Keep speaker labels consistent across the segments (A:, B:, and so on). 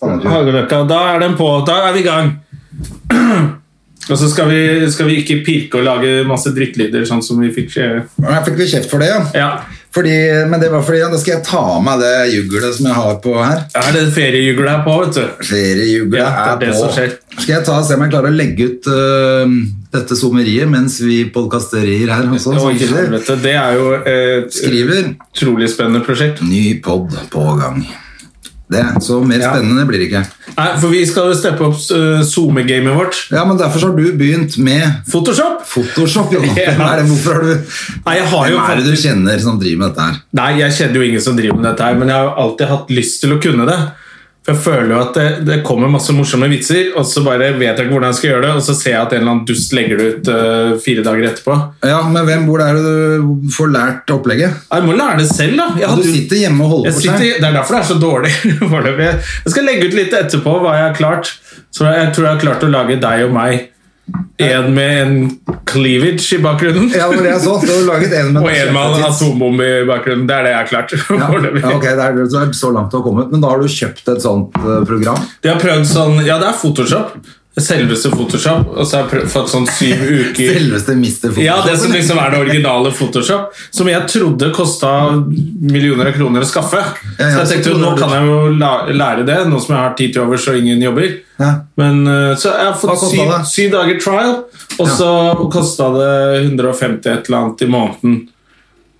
A: Hageløkka. Da er den på. Da er vi i gang. Og så skal vi, skal vi ikke pirke og lage masse drittlyder, sånn som vi fikk se.
B: Men Jeg fikk litt kjeft for det, ja.
A: Ja.
B: Fordi, men det var fordi ja, da skal jeg ta av meg det juglet som jeg har på her.
A: Er det feriejugla her på, vet du?
B: Feriejuglet
A: Ja, det er det
B: er
A: som
B: på.
A: skjer.
B: Skal jeg ta og se om jeg klarer å legge ut øh, dette sommeriet mens vi podkasterier her også,
A: Å,
B: Sånn samtidig?
A: helvete. Det er jo et
B: Skriver
A: utrolig spennende prosjekt.
B: ny pod på gang. Det, Så mer
A: Ja.
B: spennende blir det ikke.
A: Nei, for vi skal jo steppe opp eh, SoMe-gamet vårt.
B: Ja, men Derfor så har du begynt med
A: Photoshop!
B: Photoshop. Jonathan.
A: Ja.
B: Hvem er det? Hvorfor har du
A: Nei, jeg har jo
B: Hvem er det du
A: faktisk-
B: kjenner som driver med dette her?
A: Nei, jeg kjenner jo ingen som driver med dette her, men jeg har jo alltid hatt lyst til å kunne det. For jeg føler jo at det, det kommer masse morsomme vitser, og så bare vet jeg ikke hvordan jeg skal gjøre det, og så ser jeg at en eller annen dust legger det ut eh, fire dager etterpå.
B: Ja, Men hvem bor der du får lært opplegget?
A: Jeg må lære det selv, da. Jeg
B: Ja,
A: hadde
B: du
A: jo-
B: sitter hjemme og holder
A: jeg
B: på
A: sitter,
B: seg.
A: det er derfor det er så dårlig. foreløpig. jeg skal legge ut litt etterpå hva jeg har klart. Så jeg tror jeg har klart å lage deg og meg. En med en cleavage i bakgrunnen.
B: Ja, det var det jeg så. Du har laget en med
A: Og en med en
B: kjempetids.
A: atombombe i bakgrunnen. Det er det jeg har klart.
B: Ja,
A: foreløpig.
B: ja, ok, det er, det er så langt du har kommet. Men da har du kjøpt et sånt eh, program?
A: De har prøvd sånn Ja, det er Photoshop. Selveste Photoshop. Og så har jeg prøvd, fått sånn syv uker
B: Selveste Mr. Photoshop.
A: ja, Det som liksom er det originale Photoshop, som jeg trodde kosta millioner av kroner å skaffe.
B: Ja,
A: Så
B: ja,
A: jeg tenkte jo, nå
B: så-
A: kan jeg jo la- lære det, nå som jeg har tid til overs og ingen jobber.
B: Ja.
A: Men eh, Så jeg har
B: Hva
A: fått
B: kostet
A: syv,
B: det?
A: syv dager trial, og så kosta det 150 et eller annet i måneden.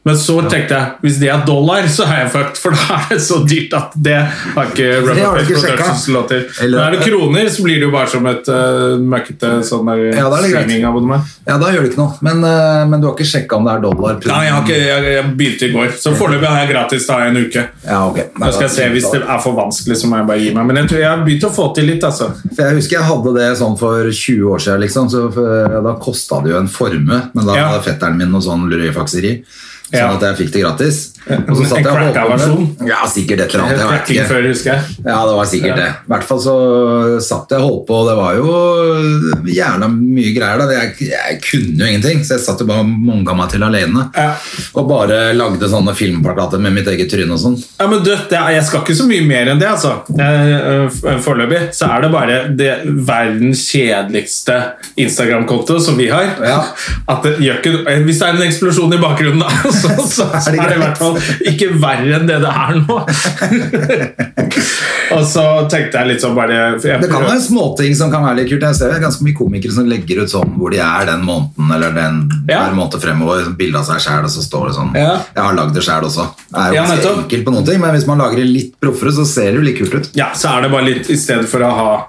A: Men så tenkte jeg hvis det er dollar, så er jeg fucked, for da er det så dyrt at det har ikke
B: Det har du
A: Rubberface
B: ikke sjekka.
A: Productions lov til.
B: Eller-
A: Men er det kroner, så blir det jo bare som et uh, møkkete sånn der
B: Ja, da er det greit.
A: streamingabonnement.
B: ja, da gjør det ikke noe. Men, eh, men du har ikke sjekka om det er dollar? pund?
A: Nei, jeg, har ikke, jeg, jeg begynte i går, så foreløpig har jeg gratis da i en uke.
B: Ja, ok. Nei,
A: Da skal jeg se Hvis det er for vanskelig, så må jeg bare gi meg. Men jeg tror jeg har begynt å få til litt, altså.
B: For jeg husker jeg hadde det sånn for 20 år siden, liksom, så eh, da kosta det jo en formue. Men da
A: Ja.
B: hadde fetteren min noe sånn lurøyfakseri, sånn
A: Ja.
B: at jeg fikk det gratis. Og
A: En
B: så satt jeg og
A: cracka
B: holdt på
A: versjon?
B: med Ja, sikkert et eller annet. Jeg vet
A: Cracking
B: ikke.
A: før, husker jeg.
B: Ja, det var sikkert
A: Ja.
B: det. I hvert fall så satt jeg og holdt på, og det var jo jævla mye greier da. Jeg, jeg kunne jo ingenting, så jeg satt jo bare og monga meg til alene.
A: Ja.
B: Og bare lagde sånne filmplakater med mitt eget tryne og sånn.
A: Ja, men du, det er, Jeg skal ikke så mye mer enn det. altså. Jeg, øh, f- Foreløpig så er det bare det verdens kjedeligste Instagram-konto som vi har.
B: Ja.
A: At det gjør ikke, eh, hvis det er en eksplosjon i bakgrunnen, da, så, så, så
B: Er det
A: er det i
B: greit?
A: hvert fall ikke verre enn det det er nå. Og så tenkte jeg litt sånn bare jeg
B: Det kan
A: prøver-
B: være småting som kan være litt kult. Jeg ser jo ganske mye komikere som legger ut sånn hvor de er den måneden eller den
A: Ja.
B: hver måned fremover. sånn Bilde av seg sjæl, og så står det sånn.
A: Ja.
B: Jeg har lagd det sjæl også. Det er jo
A: Ja,
B: ganske
A: nettopp.
B: enkelt på noen ting, men hvis man lager det litt proffere, så ser det jo litt kult ut.
A: Ja, så er det bare litt I stedet for å ha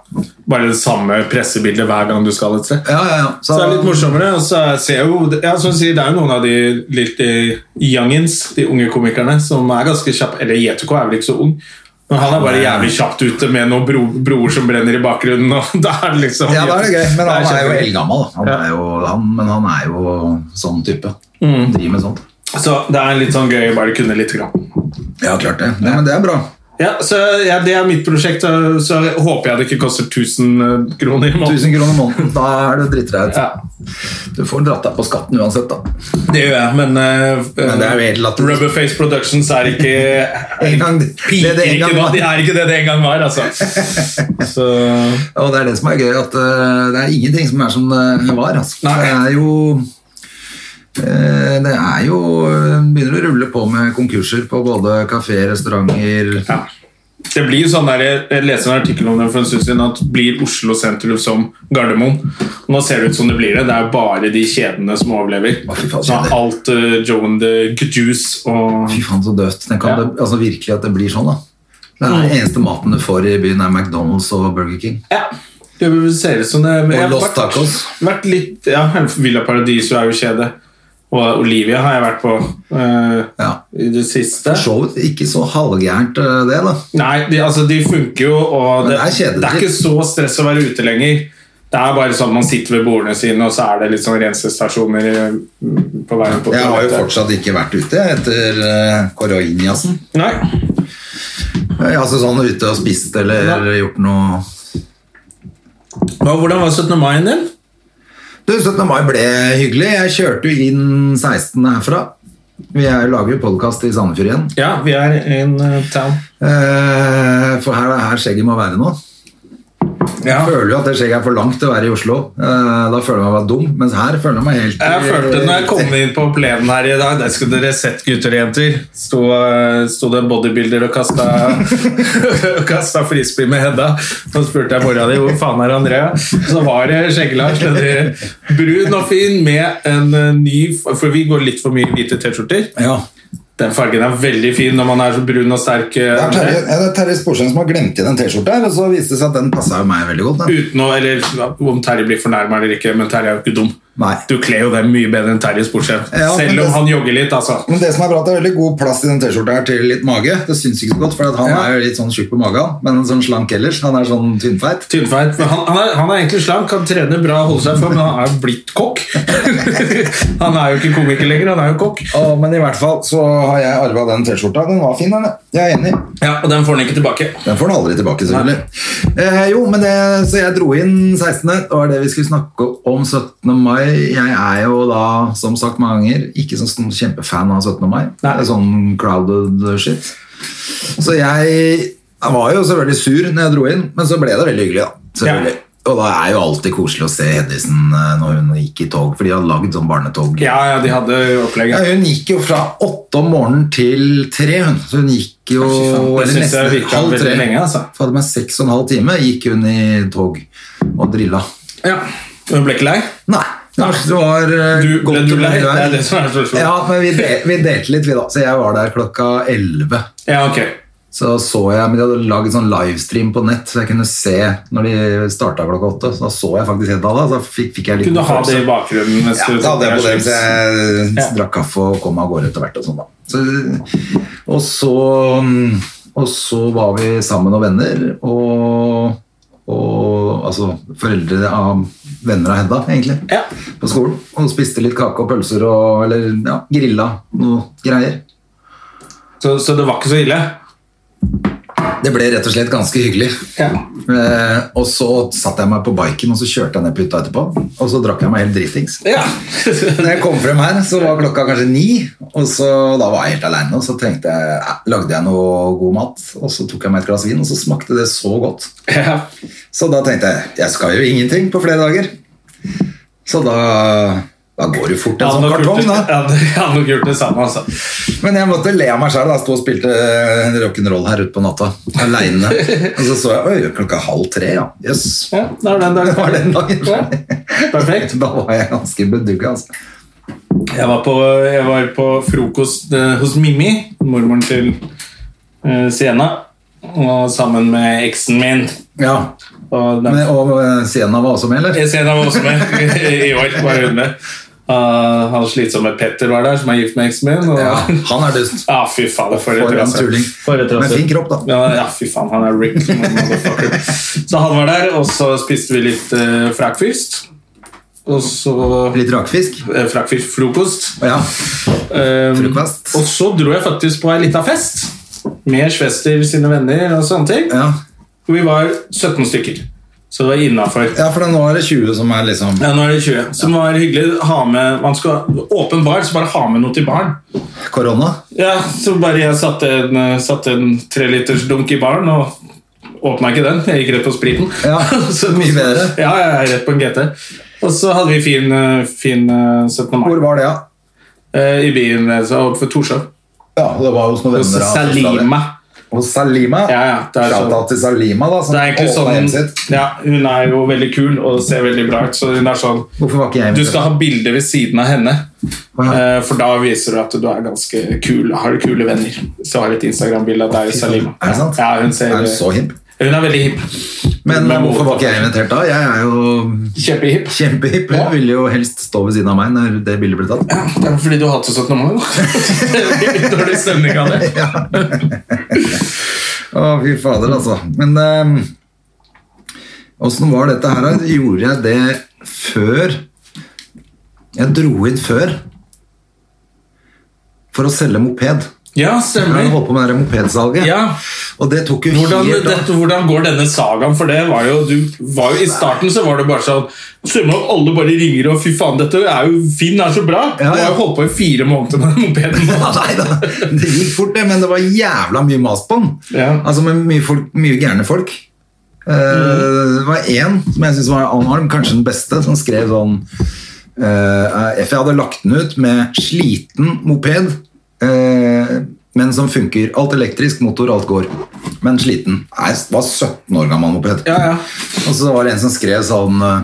A: bare det samme pressebildet hver gang du skal et sted.
B: Ja, ja, ja.
A: Så det er litt morsommere. Og så ser jeg jo, ja, som du sier, det er jo noen av de litt eh, youngins, de unge komikerne, som er ganske kjappe. Eller JTK er vel ikke så ung. Men han er bare jævlig kjapt ute med noen bro, broer som brenner i bakgrunnen. Og da er det liksom
B: Ja, da er det gøy. Men han er jo
A: kjempegøy.
B: eldgammel. da. Han
A: Ja. Mm.
B: er jo, han, men han er jo sånn type. Driver med sånt.
A: Så det er litt sånn gøy å bare kunne litt. Grann.
B: Ja, klart det. Nei, men det er bra.
A: Ja, så ja, Det er mitt prosjekt, og så håper jeg det ikke koster 1000 kroner i måneden.
B: 1000 kroner i måneden, da er du drittdreit.
A: Ja,
B: Du får dratt deg på skatten uansett, da.
A: det gjør jeg, men, eh,
B: det er jo helt latterlig.
A: Rubberface Productions er ikke
B: En gang, det
A: Piker
B: er det en
A: ikke
B: gang,
A: nå,
B: var.
A: de er ikke det det en gang var, altså. Så,
B: Og det er det som er gøy, at eh, det er ingenting som er som det var. Altså.
A: Nei.
B: Det er jo eh, det er jo eh, Begynner å rulle på med konkurser på både kafé, restauranter
A: ja. Det blir jo sånn der, Jeg leste en artikkel om det for en stund siden, at blir Oslo sentrum som Gardermoen? Nå ser det ut som det blir det. Det er bare de kjedene som overlever.
B: Hva fy faen,
A: Så
B: kjeder.
A: alt uh, Joe and the Juice og
B: Fy faen, så døvt. Tenk om
A: Ja. Mm.
B: det altså, virkelig at det blir sånn, da. Det er den eneste maten du får i byen, er McDonald's og Burger King.
A: Ja. Det ser ut som det
B: Og
A: jeg har
B: Los
A: vært-
B: Tacos.
A: vært litt Ja, Villa Paradiso er jo kjede. Og Olivia har jeg vært på eh,
B: Ja.
A: i det siste.
B: For så vidt ikke så halvgærent, eh, det, da.
A: Nei, de, altså, de funker jo, og
B: Men
A: det,
B: det er kjedelig.
A: det er ikke så stress å være ute lenger. Det er bare sånn man sitter ved bordene sine, og så er det litt sånn rensestasjoner eh, på veien på
B: Jeg har jo
A: toalettet.
B: fortsatt ikke vært ute etter uh, koronasen.
A: Nei,
B: Jeg har altså sånn ute og spist eller gjort noe
A: Hva- Hvordan var 17. mai-en din?
B: Du, 17. mai ble hyggelig. Jeg kjørte jo inn 16. herfra. Vi er, lager jo podkast i Sandefjord igjen.
A: Ja, vi er in eh, town.
B: Eh, for her er her skjegget må være nå.
A: Ja.
B: Jeg føler jo at det skjegget er for langt til å være i Oslo. Eh, da føler jeg meg bare dum, mens her føler jeg meg helt
A: Jeg følte når jeg kom inn på plenen her i dag, der skulle dere sett gutter og jenter. Sto, eh, sto det en bodybuilder og kasta, og kasta frisbee med Hedda. Så spurte jeg mora di hvor faen er Andrea. Så var det Skjegge-Lars. eller Brun og fin med en eh, ny For vi går litt for mye i hvite T-skjorter.
B: Ja.
A: Den fargen er veldig fin når man er så brun og sterk. eh,
B: Det er Terje, ja, det er Terje Sporsheim som har glemt igjen en T-skjorte her, og så viste det seg at den passa jo meg veldig godt. Da.
A: Uten å, eller Om Terje blir fornærma eller ikke, men Terje er jo ikke dum.
B: Nei.
A: Du kler jo dem mye bedre enn Terje sportssjef.
B: Ja, men
A: Selv
B: det-
A: om han jogger litt, altså.
B: Men det som er bra, at det er veldig god plass i den T-skjorta her til litt mage. Det syns ikke så godt, for at han
A: Ja.
B: er jo litt sånn tjukk på magen, men sånn slank ellers. Han er sånn tynnfeit.
A: Tynnfeit. Men han, han, er, han er egentlig slank, han trener bra, holder seg i form, men han er jo blitt kokk. han er jo ikke komiker lenger, han er jo kokk.
B: Å, men i hvert fall så har jeg arva den T-skjorta. Den var fin, den. ja. Jeg er enig.
A: Ja, Og den får han ikke tilbake.
B: Den får den aldri tilbake, selvfølgelig. Eh, jo, men det, Så jeg dro inn 16. Det var det vi skulle snakke om 17. mai. Jeg er jo da, som sagt mange ganger, ikke sånn sånn kjempefan av 17. mai. Det
A: Nei.
B: er sånn crowded shit. Så jeg, jeg var jo selvfølgelig sur når jeg dro inn, men så ble det veldig hyggelig, da. Selvfølgelig. Og da er jo alltid koselig å se Hedvigsen eh, når hun gikk i tog, for de hadde lagd sånn barnetog.
A: Ja, ja, de hadde
B: Ja,
A: opplegget.
B: hun gikk jo fra åtte om morgenen til tre. Hun, så hun gikk jo
A: Fy faen, det
B: eller
A: synes jeg
B: nesten
A: virket veldig lenge, altså.
B: Fader meg, seks og en halv time gikk hun i tog og drilla.
A: Ja. Hun ble ikke lei?
B: Nei. Det var, det var eh,
A: Du- ble
B: godt
A: du
B: humør
A: lei?
B: i dag.
A: Det er det som er spørsmålet.
B: Ja, men vi, de, vi delte litt, vi da. Så jeg var der klokka elleve.
A: Ja, ok.
B: Så så jeg, men De hadde lagd sånn livestream på nett, så jeg kunne se når de starta klokka åtte. Så da så jeg faktisk helt av det. Så fikk, fikk jeg litt
A: Kunne ha det
B: følelse.
A: i bakgrunnen. mens
B: Ja,
A: du-
B: det hadde jeg på det, så jeg
A: Ja.
B: eh, drakk kaffe og kom av gårde etter hvert og sånn da. Så, og så mm, og så var vi sammen og venner og, og altså foreldre av venner av Hedda egentlig
A: Ja.
B: på skolen og spiste litt kake og pølser og eller ja, grilla noe greier.
A: Så, så det var ikke så ille?
B: Det ble rett og slett ganske hyggelig.
A: Ja.
B: Eh, og så satte jeg meg på biken og så kjørte jeg ned på hytta etterpå og så drakk jeg meg helt dritings.
A: ja.
B: Når jeg kom frem her, så var klokka kanskje ni, og så, da var jeg helt alene, og så tenkte jeg, eh, lagde jeg noe god mat, og så tok jeg meg et glass vin, og så smakte det så godt.
A: ja.
B: Så da tenkte jeg, jeg skal jo ingenting på flere dager. Så da, da går det jo fort en
A: Hadde
B: sånn
A: nok
B: kartong
A: gjort det-
B: da.
A: ja, det- jeg hadde nok gjort det samme, altså.
B: Men jeg måtte le av meg selv da, stod og spilte eh, rock'n'roll her ute på natta, alene. Og så så jeg, oi, klokka er halv tre, ja. Jøss,
A: Ja, det var den dagen.
B: det var den dagen.
A: Ja. Perfekt.
B: Da var jeg ganske bedugget, altså.
A: Jeg var på, jeg var på frokost eh, hos Mimmi, mormoren til eh, Sienna, og sammen med eksen min.
B: Ja,
A: Og den,
B: Men, og eh, Sienna var også med, eller?
A: Eh, Sienna var også med i år. var hun med. Uh, han slitsomme Petter var der, som er gift med eksen min. Og,
B: Ja,
A: ja.
B: han er dust.
A: fy faen, for
B: For
A: et
B: en
A: rasse.
B: tulling.
A: For et
B: Men
A: rasse.
B: fin kropp, da.
A: Ja, ja, fy faen, han er Rick. motherfucker. så han var der, og så spiste vi litt uh, frakfyrst. Og så
B: Litt rakfisk.
A: eh, frakfyrst-frokost.
B: Ja.
A: Um,
B: Frokost.
A: Og så dro jeg faktisk på ei lita fest med Schwester sine venner og sånne ting.
B: Ja.
A: Og vi var 17 stykker, så det var innafor.
B: ja, for nå er det 20 som er liksom
A: Ja, nå er det 20. Som var hyggelig. Ha med, man skal Åpen bar, så bare ha med noe til baren.
B: korona.
A: Ja, så bare jeg satte en, eh, satte en treliters dunk i baren og åpna ikke den. Jeg gikk rett på spriten.
B: Ja, mye bedre.
A: Ja, ja, ja, rett på en GT. Og så hadde vi fin, eh, fin eh, 17. mai
B: Hvor var det, ja?
A: eh, i byen eh, så oppe for Torshov.
B: Ja, det var hos noen
A: Hos
B: venner. av
A: Salima.
B: Australia. Hos Salima?
A: Ja, ja, det er sånn.
B: Shout-out til Salima, da. Som
A: Det er egentlig
B: åpna hjemmet
A: sånn
B: sitt.
A: ja, Hun er jo veldig kul og ser veldig bra ut. Så hun er sånn
B: Hvorfor var ikke jeg
A: Du skal ha bilde ved siden av henne,
B: Wow.
A: eh, for da viser du at du er ganske kul. Har du kule venner? Så har du et Instagram-bilde av deg og Salima.
B: Er det sant?
A: Ja, hun, ser,
B: Er du så himp?
A: hun er veldig hipp.
B: Men eh, hvorfor var ikke jeg invitert da? Jeg er jo
A: Kjempehipp.
B: kjempehipp.
A: Ja.
B: Hun ville jo helst stå ved siden av meg når det bildet ble tatt.
A: Det er fordi du hater 17. mai, da. Dårlig stemning av det.
B: Å, fy fader, altså. Men åssen var dette her? da? Gjorde jeg det før Jeg dro inn før for å selge moped.
A: Ja,
B: Jeg hadde
A: stemmer.
B: holdt på med det der mopedsalget.
A: Ja.
B: Og det tok jo
A: Hvordan,
B: helt av.
A: dette, hvordan går denne sagaen? For det var jo, du var jo I starten så var det bare sånn Summe opp, alle bare ringer og 'fy faen, dette er jo Finn er så bra'.
B: Ja, ja.
A: Du har jo holdt på i fire måneder med den mopeden. nå.
B: Ja, Nei da, det gikk fort det, men det var jævla mye mas på den.
A: Ja.
B: Altså med mye, folk, mye gærne folk. Eh, Det var én som jeg syns var anarm, kanskje den beste, som skrev sånn eh, F. Jeg hadde lagt den ut med 'sliten moped', eh, men som funker. Alt elektrisk, motor, alt går. Men sliten. Nei, det var 17 år gammel moped.
A: Ja, ja.
B: Og så var det en som skrev sånn eh,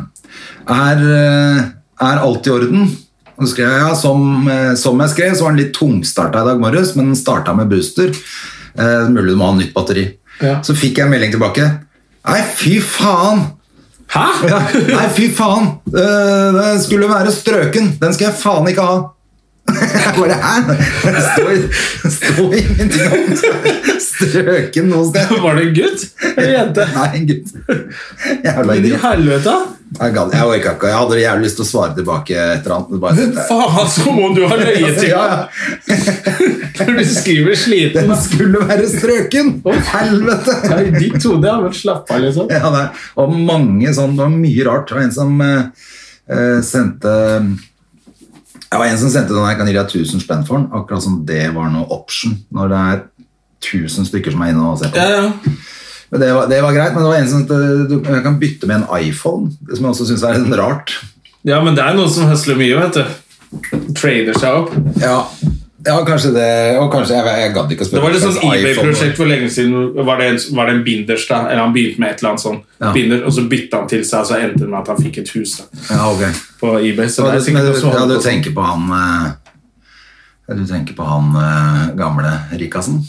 B: Er, eh, er alt i orden? Og så skrev jeg, ja, som, eh, som jeg skrev, så var den litt tungstarta i dag morges, men den starta med booster. Eh, mulig du må ha nytt batteri.
A: Ja.
B: Så fikk jeg en melding tilbake. Nei, fy faen!
A: Hæ?
B: Ja, nei, fy faen! Eh, den skulle være strøken! Den skal jeg faen ikke ha! Jeg bare hæ? Det står- står ingenting om den skal- strøken noe sted.
A: Var det en gutt eller jente?
B: Nei, en gutt. Jævla
A: Men i
B: idiot.
A: helvete!
B: Jeg gadd- jeg orka ikke. Jeg hadde jævlig lyst til å svare tilbake et eller annet. Bare,
A: Faen, som om du har løyet til
B: ja,
A: meg!
B: ja.
A: Når du skriver 'sliten'.
B: Den skulle være strøken! Helvete!
A: Ja, I ditt hode har vært slapp av, liksom.
B: Ja, det er- og mange sånn, det var mye rart. Det var en som eh, eh, sendte Det var en som sendte den her, kan gi deg 1000 spenn for den. Akkurat som det var noe option når det er 1000 stykker som er inne og ser på.
A: Ja, ja.
B: Men Det, var, det var greit, men det var en som sendte, du jeg kan bytte med en iPhone, som jeg også syns er litt rart.
A: ja, men det er noen som høsler mye, vet du. Trader seg opp.
B: Ja, ja kanskje det. Og kanskje jeg, jeg gadd ikke å
A: Det
B: spørre.
A: var et sånt
B: Kanskje iPhone-
A: eBay-prosjekt for lenge siden. Var det, en, var det en binders, da? Eller han begynte med et eller annet sånn
B: Ja.
A: binder, og så bytta han til seg, og så endte det med at han fikk et hus da,
B: Ja, ok.
A: på eBay. Så
B: Ja, du,
A: det er
B: men,
A: sikkert noe som
B: ja,
A: holder
B: du
A: på sånn.
B: tenker på han eh, ja, Du tenker på han eh, gamle Rikassen?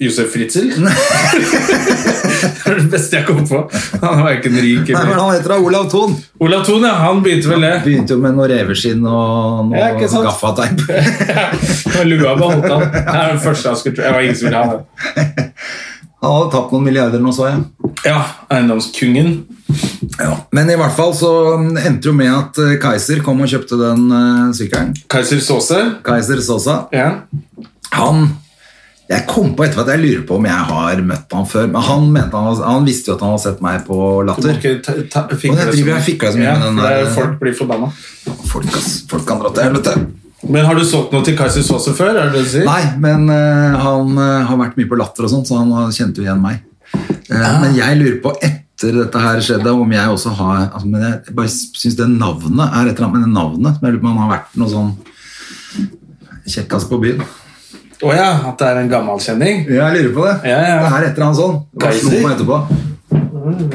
A: Josef Fritzl? det er det beste jeg kom på. Han var ikke en rik
B: Nei, men
A: eller
B: han heter da Olav Thon!
A: Olav Thon, ja. Han begynte vel det.
B: Begynte jo med noe reveskinn og noe
A: Ja, ikke sant?
B: gaffateip.
A: Med lua beholdt han. Det er den første han skulle tro. Jeg var ingen som ville ha det.
B: Han hadde tapt noen milliarder nå, så jeg.
A: Ja, Eiendomskungen.
B: Ja. Men i hvert fall så endte det jo med at eh, Kaiser kom og kjøpte den eh, sykkelen.
A: Kaiser Saase.
B: Kaiser Sosa.
A: Ja.
B: Han Jeg kom på etterpå at jeg lurer på om jeg har møtt han før. Men han, mente han, han visste jo at han hadde sett meg på
A: Du må
B: Latter.
A: ikke ta- ta-
B: Og
A: fikle
B: jeg
A: så
B: driver jeg
A: mye.
B: fikla så mye
A: Ja,
B: med den
A: for det er
B: der- eh,
A: jo folk blir forbanna.
B: Folk, ass. Folk kan dra til helvete.
A: Men har du solgt noe til Kaiser Saase før? Er det det du sier?
B: Nei, men eh, han eh, har vært mye på latter og sånn, så han har- kjente jo igjen meg. Eh, Men jeg lurer på etter dette her skjedde, om jeg også har altså, Men jeg bare syns det navnet er et eller annet med det navnet. Men jeg lurer på om han har vært noe sånn kjekkas på byen.
A: Å ja, at det er en gammel kjenning?
B: Jeg lurer på det.
A: Ja, ja.
B: Det er et eller annet sånn. Det bare slo
A: Geiser.
B: meg etterpå.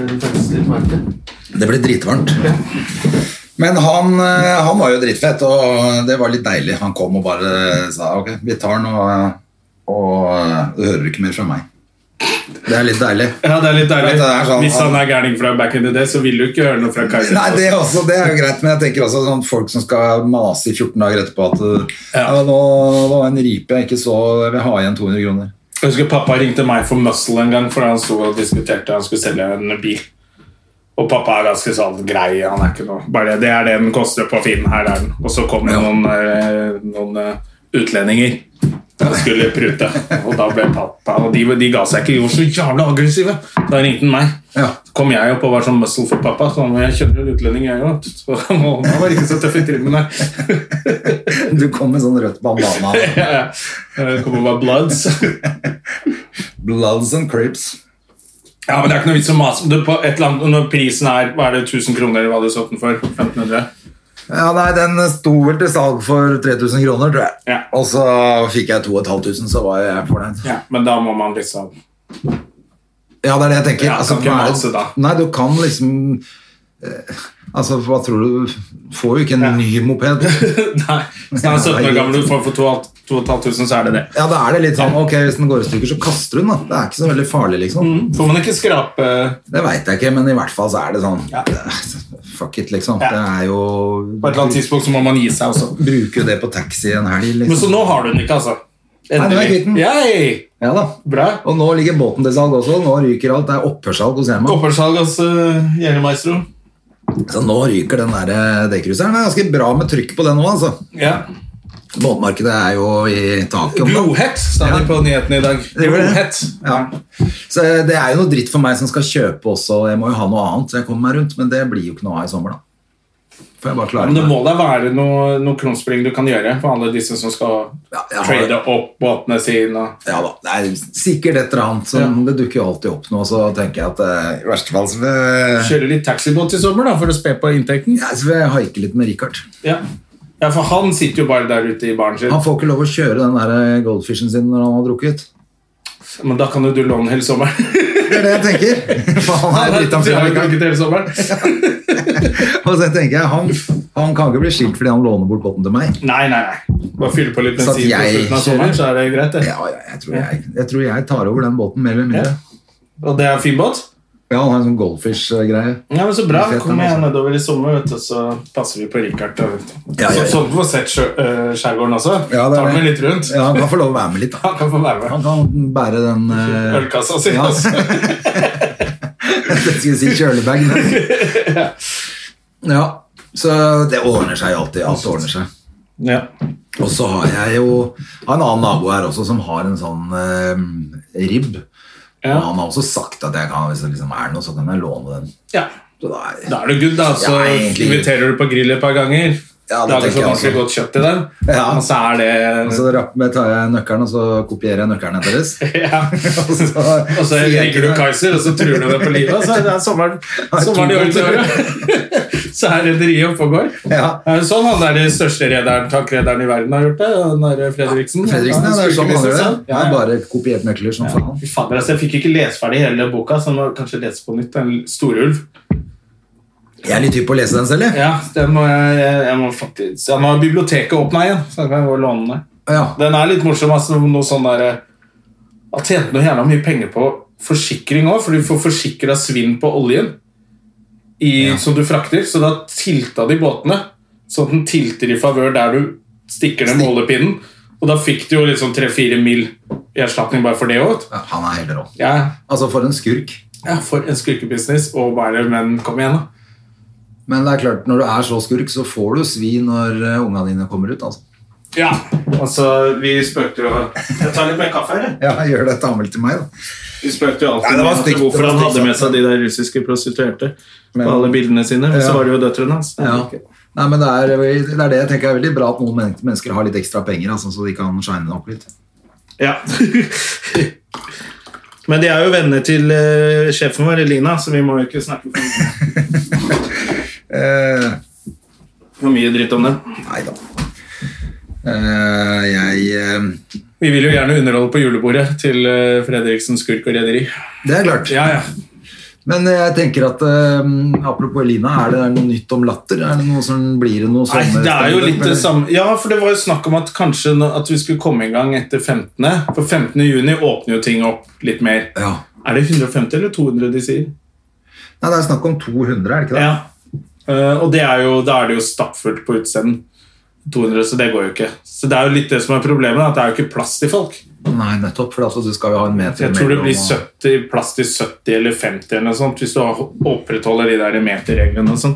B: Det ble dritvarmt. Men han, eh, han var jo dritfett, og det var litt deilig. Han kom og bare sa ok, vi tar den, og, og eh, du hører ikke mer fra meg. Det er litt deilig.
A: Ja, det er litt deilig.
B: Vet du, det er sånn-
A: Hvis han er gærning fra back in the day, så vil du ikke høre noe fra Kaiser.
B: Nei, det, er også, det er jo greit, men jeg tenker også sånn folk som skal mase i 14 dager etterpå at eh,
A: Ja.
B: ja, nå var en ripe jeg ikke så, jeg vil ha igjen 200 kroner.
A: Jeg husker pappa ringte meg for muscle en gang fordi han sto og diskuterte han skulle selge en bil. Og pappa er ganske sånn grei. han er ikke noe. Bare Det er det den koster på Finn. her er den. Og så kom det noen, eh, noen eh, utlendinger som skulle prute. Og da ble pappa Og de, de ga seg ikke. De var så jævla aggressive! Så da ringte han meg.
B: Ja.
A: Så kom jeg opp og var sånn muscle for pappa. Så han, jeg kjenner jo en utlending, jeg òg. Så han var ikke så tøff i trimmen, nei.
B: Du kom med sånn rødt bandana.
A: Ja, ja. Jeg Kom og var bloods.
B: Bloods and Crips.
A: Ja, men det er ikke noe vits å mase du, på et eller annet, Når prisen er hva er det, 1000 kroner, eller hva hadde du solgt den for? 1500?
B: Ja, nei, den sto vel til salg for 3000 kroner, tror jeg.
A: Ja.
B: Og så fikk jeg 2500, så var jeg fornøyd.
A: Ja, Men da må man liksom
B: Ja, det er det jeg tenker.
A: Ja, kan
B: hva
A: ikke
B: er det-
A: mase da.
B: Nei, du kan liksom eh, Altså, hva tror du Får jo ikke en ny moped.
A: Nei, Hvis den er 17 år gammel og du får for 2500, så er det det.
B: Ja, da er det litt sånn Ok, hvis den går i stykker, så kaster hun, da. Det er ikke så veldig farlig, liksom.
A: Får man ikke skrape eh,
B: Det veit jeg ikke, men i hvert fall så er det sånn Fuck it, liksom.
A: Ja.
B: Det er jo
A: På et eller annet tidspunkt så må man gi seg også.
B: Bruker jo det på taxi en helg,
A: Men så
B: liksom.
A: nå har du den ikke, altså.
B: Nei, nå er jeg kvitt den.
A: Yay!
B: Ja da.
A: Bra.
B: Og nå ligger båten til salg også. Nå ryker alt. Det er opphørssalg hos Hema.
A: Opphørssalg hos uh, Maestro.
B: Så nå ryker den der eh, dekkruseren. Det er ganske bra med trykk på den nå, altså.
A: Ja.
B: Båtmarkedet er jo i taket. om dagen.
A: Glohett står det
B: Ja.
A: på nyhetene i dag.
B: Det gjør det.
A: Glohett.
B: Ja. Så eh, det er jo noe dritt for meg som skal kjøpe også. Jeg må jo ha noe annet, så jeg kommer meg rundt. Men det blir jo ikke noe av i sommer, da. For jeg bare klarer
A: Men det
B: meg.
A: må da være noe, noe krumspring du kan gjøre for alle disse som skal
B: Ja, jeg har-
A: trade opp båtene sine. og-
B: Ja da, det er sikkert et eller annet. som- Det dukker jo alltid opp nå, så tenker jeg at eh, i verste fall så vil jeg-
A: Kjøre litt taxibåt i sommer da, for å spe på inntekten.
B: ja, så vil jeg haike litt med Richard.
A: Ja. ja, for han sitter jo bare der ute i baren sin.
B: Han får ikke lov å kjøre den der eh, goldfishen sin når han har drukket.
A: Men da kan jo du låne hele sommeren.
B: Det er det jeg tenker. For han er
A: Du
B: drittan fyr,
A: har jo
B: Richard.
A: drukket hele sommeren.
B: Og så tenker jeg, han, han kan ikke bli skilt fordi han låner bort båten til meg.
A: Nei, nei, nei. Bare fylle på litt
B: Så at
A: bensin på
B: jeg
A: slutten av
B: kjører.
A: sommeren, så er det greit. det.
B: Ja, ja, jeg, tror jeg, jeg tror jeg tar over den båten mer eller mindre.
A: Og det er fin båt?
B: Ja, han har en sånn goldfish-greie.
A: Ja, men Så bra.
B: Fett,
A: Kom
B: den
A: igjen
B: også.
A: nedover i sommer, vet du, så passer vi på Richard. da, vet du.
B: Ja, ja, ja.
A: Så- Sånn du får sett sjø- øh, skjærgården også.
B: Ja, det er
A: Tar med
B: det.
A: litt rundt.
B: Ja, han kan få lov å være med litt, da.
A: Han kan få være med.
B: Han kan bære den eh,
A: Ølkassa si.
B: Ja.
A: altså.
B: Jeg skulle si kjølebag. Men. Ja, så det ordner seg alltid. Alt ordner seg.
A: Ja.
B: Og så har jeg jo har en annen nabo her også som har en sånn eh, ribb.
A: Ja.
B: Og han har også sagt at jeg kan, hvis det liksom er noe, så kan jeg låne den.
A: ja.
B: Så da er
A: Da er det good, da. Så
B: Ja, egentlig.
A: inviterer du på grill et par ganger.
B: Ja, det
A: Lager
B: tenker
A: så
B: jeg
A: ganske
B: også.
A: godt kjøtt til den,
B: Ja.
A: og så er det
B: Så rapp med tar jeg nøkkelen, og så kopierer jeg nøkkelen deres.
A: ja.
B: Og så,
A: Og så
B: sier jeg
A: drikker du
B: ikke noe.
A: Kaiser, og så truer du deg på livet. og Så er det sommeren, sommeren i år til året. Så er rederiet oppe og går.
B: Ja.
A: Det er jo Sånn han er den største rederen, tankrederen i verden har gjort det. Han er Fredriksen.
B: Fredriksen, ja, det er sånn han gjør det. Jeg
A: Ja,
B: har
A: ja.
B: bare kopiert nøkler som faen.
A: liksom Fy fader, altså, jeg fikk ikke lese ferdig hele boka, så jeg må kanskje lese på nytt. Den storulv.
B: Jeg er litt hypp på å lese den selv, jeg.
A: Ja, den må jeg, jeg må faktisk ja, Nå har biblioteket åpna igjen, så jeg kan gå og låne den.
B: Ja.
A: Den er litt morsom. Altså, noe sånn der, eh, han tjente noe jævla mye penger på forsikring òg, for du får forsikra svinn på oljen i, som du frakter. Så da tilta de båtene, sånn at den tilter i favør der du stikker ned målepinnen. Og da fikk du jo liksom tre-fire mil i erstatning bare for det òg.
B: Ja, Han er helt rå.
A: Ja,
B: Altså, for en skurk.
A: ja, for en skurkebusiness. Og bare, men kom igjen, da.
B: Men det er klart, når du er så skurk, så får du svi når eh, ungene dine kommer ut. Altså.
A: Ja, altså, vi spøkte jo Jeg tar litt mer kaffe, eller?
B: Ja, gjør dette anmeldt til meg, da.
A: Vi spøkte jo alltid
B: Nei, det var
A: med at
B: stygt,
A: hvorfor
B: det var
A: han hadde
B: stygt.
A: med seg de der russiske prostituerte
B: Men-
A: på alle bildene sine. Men
B: Ja.
A: så var det jo døtrene hans.
B: Ja. Nei, men det er, det er det jeg tenker er veldig bra at noen men- mennesker har litt ekstra penger, altså, så de kan shine opp litt.
A: Ja. men de er jo venner til eh, sjefen vår, Elina, så vi må jo ikke snakke for mye,
B: Eh,
A: for mye dritt om dem.
B: nei da. Eh, jeg eh,
A: Vi vil jo gjerne underholde på julebordet til Fredriksen skurk og rederi.
B: Det er klart.
A: Ja, ja.
B: Men jeg tenker at eh, apropos Elina, er det, er det noe nytt om latter? Er det noe som blir det noe
A: Nei, det er jo
B: sommerstandup,
A: litt det
B: eller?
A: samme Ja, for det var jo snakk om at kanskje nå- at vi skulle komme i gang etter 15. For 15. juni åpner jo ting opp litt mer.
B: Ja.
A: Er det 150 eller 200 de sier?
B: Nei, det er snakk om 200, er det ikke det?
A: Ja. Eh, og det er jo, da er det jo stappfullt på utesteden. 200, så det går jo ikke. Så det er jo litt det som er problemet, at det er jo ikke plass til folk.
B: Nei, nettopp, for altså, du skal jo ha en meter
A: Jeg tror det
B: mellom,
A: blir
B: og-
A: 70, plass til 70 eller 50 eller noe sånt, hvis du opprettholder de der meterreglene og sånn.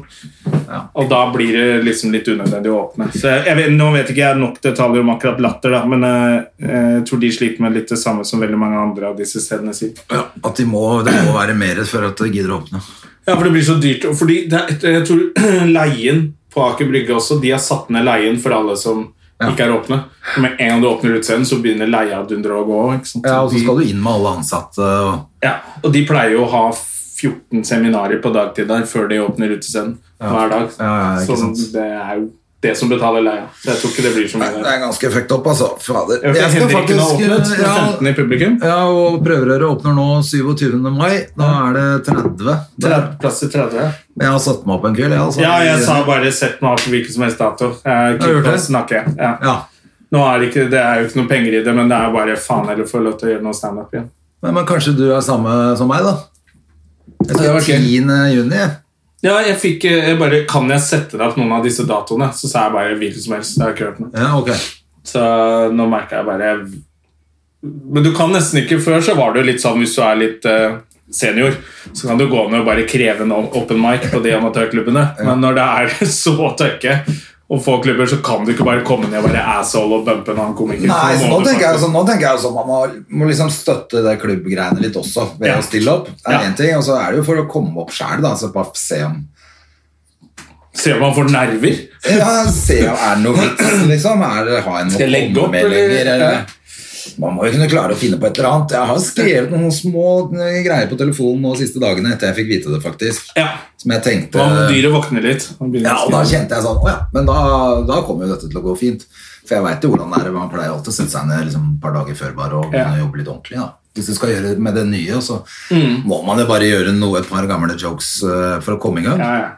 B: Ja.
A: Og da blir det liksom litt unødvendig å åpne. Så jeg vet, nå vet ikke jeg nok detaljer om akkurat latter, da, men eh, jeg tror de sliter med litt det samme som veldig mange andre av disse stedene sier.
B: Ja, at de må, det må være mer for at de gidder å åpne.
A: Ja, for det blir så dyrt. og Fordi det, er- jeg tror leien på Aker Brygge også, de har satt ned leien for alle som
B: Ja.
A: ikke er åpne. Med en gang du åpner utseendet, så begynner leia å dundre og gå. Ikke sant?
B: Ja, og så
A: de,
B: skal du inn med alle ansatte. Og,
A: ja, og de pleier jo å ha 14 seminarer på dagtid der før de åpner utescenen hver dag.
B: Ja, ja, ikke
A: så
B: sant.
A: det er jo det som betaler leia. Så jeg tror ikke det blir så
B: Nei, det
A: mye.
B: er ganske fucked up, altså. Fader.
A: Jeg vet ikke, Henriken har åpnet med
B: eh, ja,
A: 15 i publikum.
B: ja, og prøverøret åpner nå 27. mai. Da er det 30.
A: Det
B: Der.
A: er Plass til 30.
B: Jeg har satt meg opp en kveld, jeg. Altså.
A: Ja, jeg sa bare 'sett meg av på hvilken som helst dato'. Jeg
B: Har du gjort
A: kunne
B: det?
A: snakke. Ja.
B: Ja.
A: Nå er det, ikke, det er jo ikke noe penger i det, men det er bare faen heller få lov til å gjøre noe standup igjen.
B: Men, men kanskje du er samme som meg, da? Jeg skal
A: Ja, ok.
B: 10. juni. jeg.
A: Ja, jeg fikk eh, jeg bare Kan jeg sette deg på noen av disse datoene? Så sa jeg bare hvilken som helst. Jeg har ikke hørt noe.
B: Ja, ok.
A: Så nå merker jeg bare Men du kan nesten ikke Før så var det jo litt sånn hvis du er litt eh, senior, så kan du gå ned og bare kreve en open mic på de amatørklubbene. Men når det er så tøkke og få klubber, så kan du ikke bare komme ned og være asshole og bumpe en annen komiker.
B: Nei,
A: For
B: så nå
A: må du
B: tenker jeg jo
A: faktisk-
B: sånn, nå tenker jeg jo sånn man må, må liksom støtte det klubbgreiene litt også, ved
A: Ja.
B: å stille opp. Det er
A: Ja.
B: en ting, Og så er det jo for å komme opp sjæl, da. Så bare se om sånn-
A: Se om man får nerver.
B: Ja, se om er det noe vits, liksom. Er det, har jeg noe
A: Skal jeg legge
B: å komme
A: opp,
B: med
A: eller?
B: lenger,
A: Ja.
B: Man må jo kunne klare å finne på et eller annet. Jeg har skrevet noen små greier på telefonen nå de siste dagene etter jeg fikk vite det, faktisk.
A: Ja.
B: Som jeg tenkte
A: Da må dyret våkne litt. og begynne
B: Ja,
A: å
B: og da
A: skrive.
B: kjente jeg sånn, å ja, men da, da kommer jo dette til å gå fint. For jeg vet jo hvordan det er, man pleier alltid å sette seg ned liksom, et par dager før bare og begynne
A: Ja.
B: å jobbe litt ordentlig. Da. Hvis du skal gjøre det med det nye, så
A: Mm.
B: må man jo bare gjøre noe, et par gamle jokes eh, for å komme i gang.
A: Ja, ja.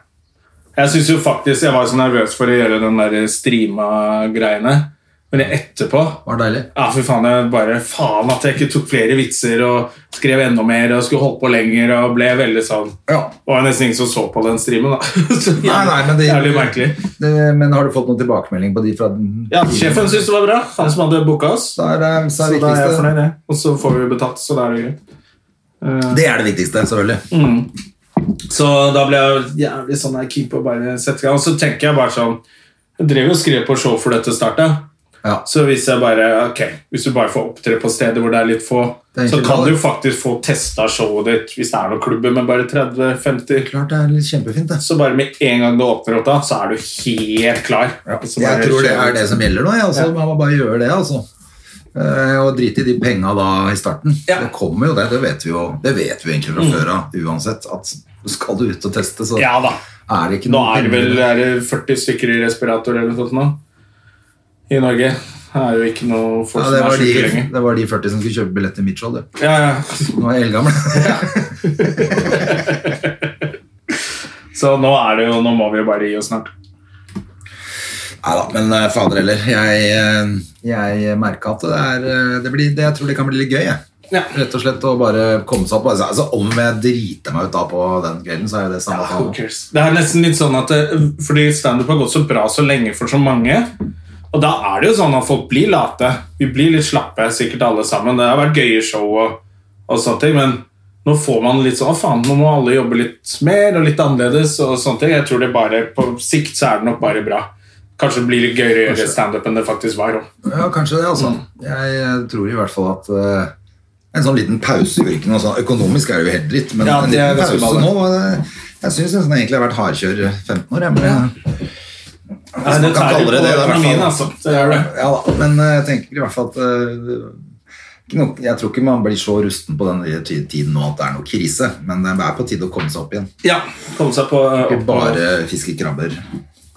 A: Jeg synes jo faktisk Jeg var så nervøs for å gjøre den der streama-greiene, men jeg etterpå
B: Var det deilig?
A: ja, for faen, jeg bare, faen at jeg ikke tok flere vitser og skrev enda mer og skulle holdt på lenger og ble veldig sånn
B: Ja.
A: Det var nesten ingen som så på den streamen, da. Så
B: Nei, nei, men det
A: Jævlig merkelig.
B: Det, men har du fått noen tilbakemelding på de fra den?
A: Ja, Sjefen syntes det var bra, han som hadde booka oss.
B: Så er det, så
A: Så
B: er det
A: da er jeg
B: viktigste.
A: fornøyd, jeg. Og så får vi betalt, så da er det greit.
B: Det er det viktigste,
A: Mm.
B: selvfølgelig.
A: Så da ble jeg jævlig sånn her keen på å bare sette i gang. Og så tenker jeg bare sånn Jeg drev jo og skrev på show for dette startet.
B: Ja.
A: Så hvis jeg bare, ok, hvis du bare får opptre på steder hvor det er litt få,
B: Det er
A: så
B: ikke
A: kan
B: bra,
A: du
B: det.
A: faktisk få testa showet ditt hvis det er noen klubber med bare 30-50.
B: Klart det er litt kjempefint, det.
A: Så bare med en gang du åpner opp, da, så er du helt klar. Så bare
B: Jeg tror det
A: kjører
B: er det
A: du.
B: som gjelder nå. jeg, Altså,
A: Ja.
B: Man må bare gjøre det, altså. Eh, Og drite i de penga da i starten.
A: Ja. Mm.
B: Det kommer jo det. Det vet vi jo Det vet vi egentlig fra før av uansett. At skal du ut og teste, så
A: Ja da.
B: er det ikke
A: Nå
B: noe
A: er det vel eh, er det 40 stykker i respirator eller noe sånt nå i Norge. Det er jo ikke noe folk
B: ja, det,
A: som
B: var
A: er syke
B: de,
A: lenger.
B: det var de 40 som skulle kjøpe billett til mitt show. det.
A: Ja, ja.
B: Nå er jeg eldgammel.
A: Så nå er det jo, nå må vi jo bare gi oss snart.
B: Nei da, men eh, fader heller. Jeg, eh, jeg merka at det er eh, det blir, det, Jeg tror det kan bli litt gøy. jeg.
A: Ja.
B: Rett og slett å bare komme seg opp. Altså, altså, om jeg driter meg ut da på den kvelden, så er jo det samme.
A: Who
B: faen.
A: cares? Det er nesten litt sånn at eh, Fordi standup har gått så bra så lenge for så mange. Og da er det jo sånn at folk blir late. Vi blir litt slappe, sikkert alle sammen. Det har vært gøye show og, og sånne ting, men nå får man litt sånn Å, faen, nå må alle jobbe litt mer og litt annerledes og sånne ting. Jeg tror det bare På sikt så er det nok bare bra. Kanskje det blir litt gøyere å gjøre standup enn det faktisk var. også.
B: Ja, kanskje det,
A: Mm.
B: altså. Jeg eh, tror i hvert fall at eh, en sånn liten pause gjør ikke noe sånn. Økonomisk er det jo helt dritt, men
A: Ja,
B: en
A: det er
B: liten
A: ganske
B: pause
A: bra, det.
B: nå eh, Jeg syns nesten egentlig jeg har vært hardkjør i 15 år, jeg. Men, eh,
A: Nei, det
B: man kan
A: tærer
B: kalle
A: på
B: det det, da, i hvert fall.
A: økonomien, altså. Det gjør det.
B: ja, da, men eh, jeg tenker i hvert fall at eh, ikke noe- jeg tror ikke man blir så rusten på den lille ti- tiden nå at det er noe krise, men det er på tide å komme seg opp igjen.
A: Ja. Komme seg på eh,
B: Ikke
A: opp-
B: bare fiske krabber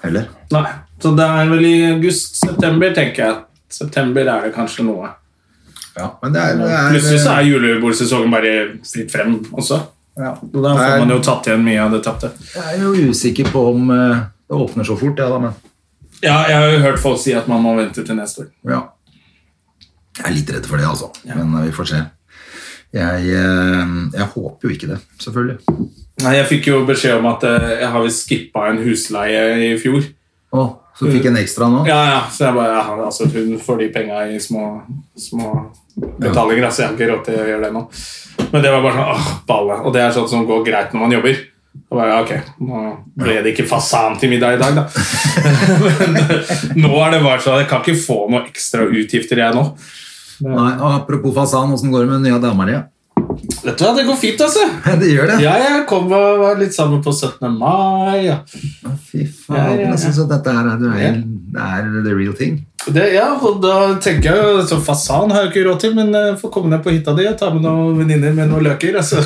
B: heller.
A: Nei. Så det er vel i august-september, tenker jeg. September er det kanskje noe.
B: Ja, men det er, det er eh,
A: Plutselig så er julebordsesongen bare fritt frem også.
B: ja,
A: Og da
B: det
A: får
B: er-
A: man jo tatt igjen mye av det tapte.
B: Jeg er jo usikker på om eh, det åpner så fort, ja da, men
A: Ja, jeg har jo hørt folk si at man må vente til neste år.
B: ja. Jeg er litt redd for det, altså. Men eh, vi får se. Jeg, eh, jeg håper jo ikke det, selvfølgelig.
A: Nei, Jeg fikk jo beskjed om at eh, jeg har visst skippa en husleie i fjor.
B: Å, så fikk jeg en ekstra nå.
A: Ja, ja, Så jeg bare ja, altså, Hun får de penga i små, små betalinger, altså. Jeg har ikke råd til å gjøre det nå. Men det var bare sånn åh, balle. Og det er sånt som går greit når man jobber. Da bare, ja, ok, Nå ble det ikke fasan til middag i dag, da. Men eh, nå er det bare sånn jeg kan ikke få noen ekstra utgifter, jeg nå.
B: Nei, og apropos fasan, åssen går det med nye dama di?
A: Vet du hva, det går fint, altså.
B: Det gjør det?
A: Ja, jeg kom og var litt sammen på 17. mai. Ja.
B: Fy faen,
A: Ja, ja, ja.
B: jeg synes at dette her er, du er, det er the real thing.
A: Det, ja, og da tenker jeg jo så Fasan har jeg jo ikke råd til, men jeg får komme ned på hytta di og ta med noen venninner med noen løker. Altså.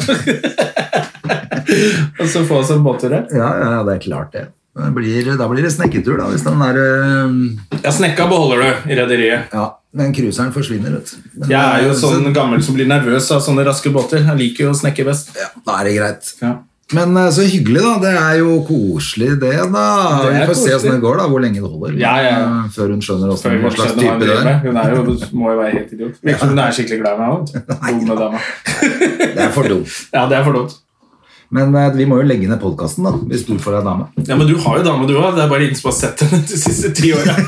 A: og så få oss en båttur her.
B: Ja, ja, ja, det er klart det. Det Blir, da blir det snekketur, da, hvis den der eh,
A: Ja, Snekka beholder du i rederiet.
B: Ja, men cruiseren forsvinner, vet du. Men eh,
A: Jeg er jo
B: så-
A: sånn gammel som blir nervøs av sånne raske båter. Jeg liker jo å snekke best.
B: ja, Da er det greit.
A: Ja.
B: Men eh, så hyggelig, da. Det er jo koselig, det, da.
A: Det er
B: Vi får se
A: koselig.
B: åssen det går, da. Hvor lenge det holder.
A: Ja, ja, ja.
B: Eh, Før hun skjønner
A: Før
B: hvordan,
A: hun
B: hva slags
A: skjønner hva
B: type
A: hun
B: det
A: driver
B: er.
A: med. Hun er jo, du må jo være helt idiot. Virker som hun er skikkelig glad i meg òg. Dumme dama.
B: Det er for dumt.
A: Ja, det er for dumt.
B: Men eh, vi må jo legge ned podkasten, da. Hvis du får deg dame.
A: Ja, men du har jo dame, du òg. Det er bare ingen som har sett henne de siste ti åra.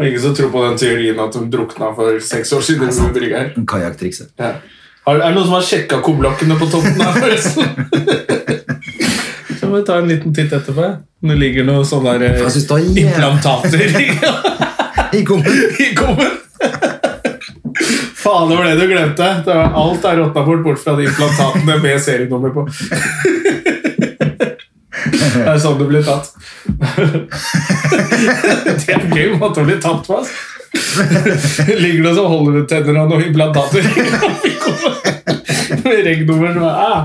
A: Og ingen som tror på den teorien at hun drukna for seks år siden. Hun brygger her.
B: Kajakktrikset.
A: Ja. Har, er det noen som har sjekka koblokkene på toppen her, forresten? Så må vi ta en liten titt etterpå. Det ligger noen sånne der, eh,
B: Jeg synes det var jæv-
A: implantater
B: I kommen.
A: i kummen. Faen, det var det du glemte. Det var, alt er råtna bort, bort fra de implantatene med serienummer på. Det er sånn du blir tatt. Det er en gøy måte å bli tatt på. ass. Ligger du og så holder du tenner og noen implantater i kummen. Med regnummer som er ah.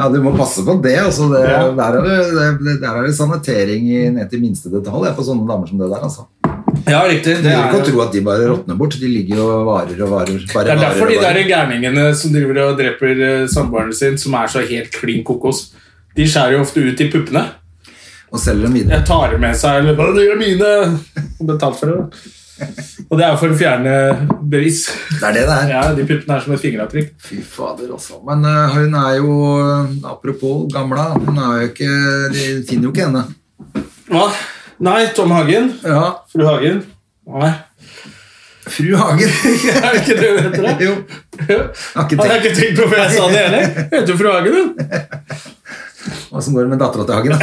B: Ja, du må passe på det. Altså, det,
A: Ja.
B: der, er det, det der er det sanitering i, ned til minste detalj jeg, for sånne damer som det der. Altså.
A: Ja, riktig.
B: Det er ikke å tro at de bare råtner bort. De ligger jo og varer og varer. Bare
A: Det er derfor
B: varer
A: de
B: og
A: der
B: varer.
A: gærningene som driver og dreper eh, samboeren sin, som er så helt klin kokos, de skjærer jo ofte ut i puppene.
B: Og selger dem videre.
A: Jeg tar dem med seg eller «Hva, 'Det gjør mine!' og betalt for det. da. Og det er for å fjerne bevis.
B: Det er det det er.
A: Ja, De puppene er som et fingeravtrykk.
B: Fy fader, altså. Men eh, hun er jo eh, Apropos gamla, hun er jo ikke De finner jo ikke henne.
A: Hva? Nei, Tom Hagen.
B: Ja,
A: Fru Hagen. Nei,
B: fru Hagen.
A: er det ikke det hun heter? da?
B: jo. ikke
A: Hadde jeg ikke tenkt på før jeg sa det heller. Hun heter jo fru Hagen, hun.
B: Åssen går det med dattera til Hagen? da?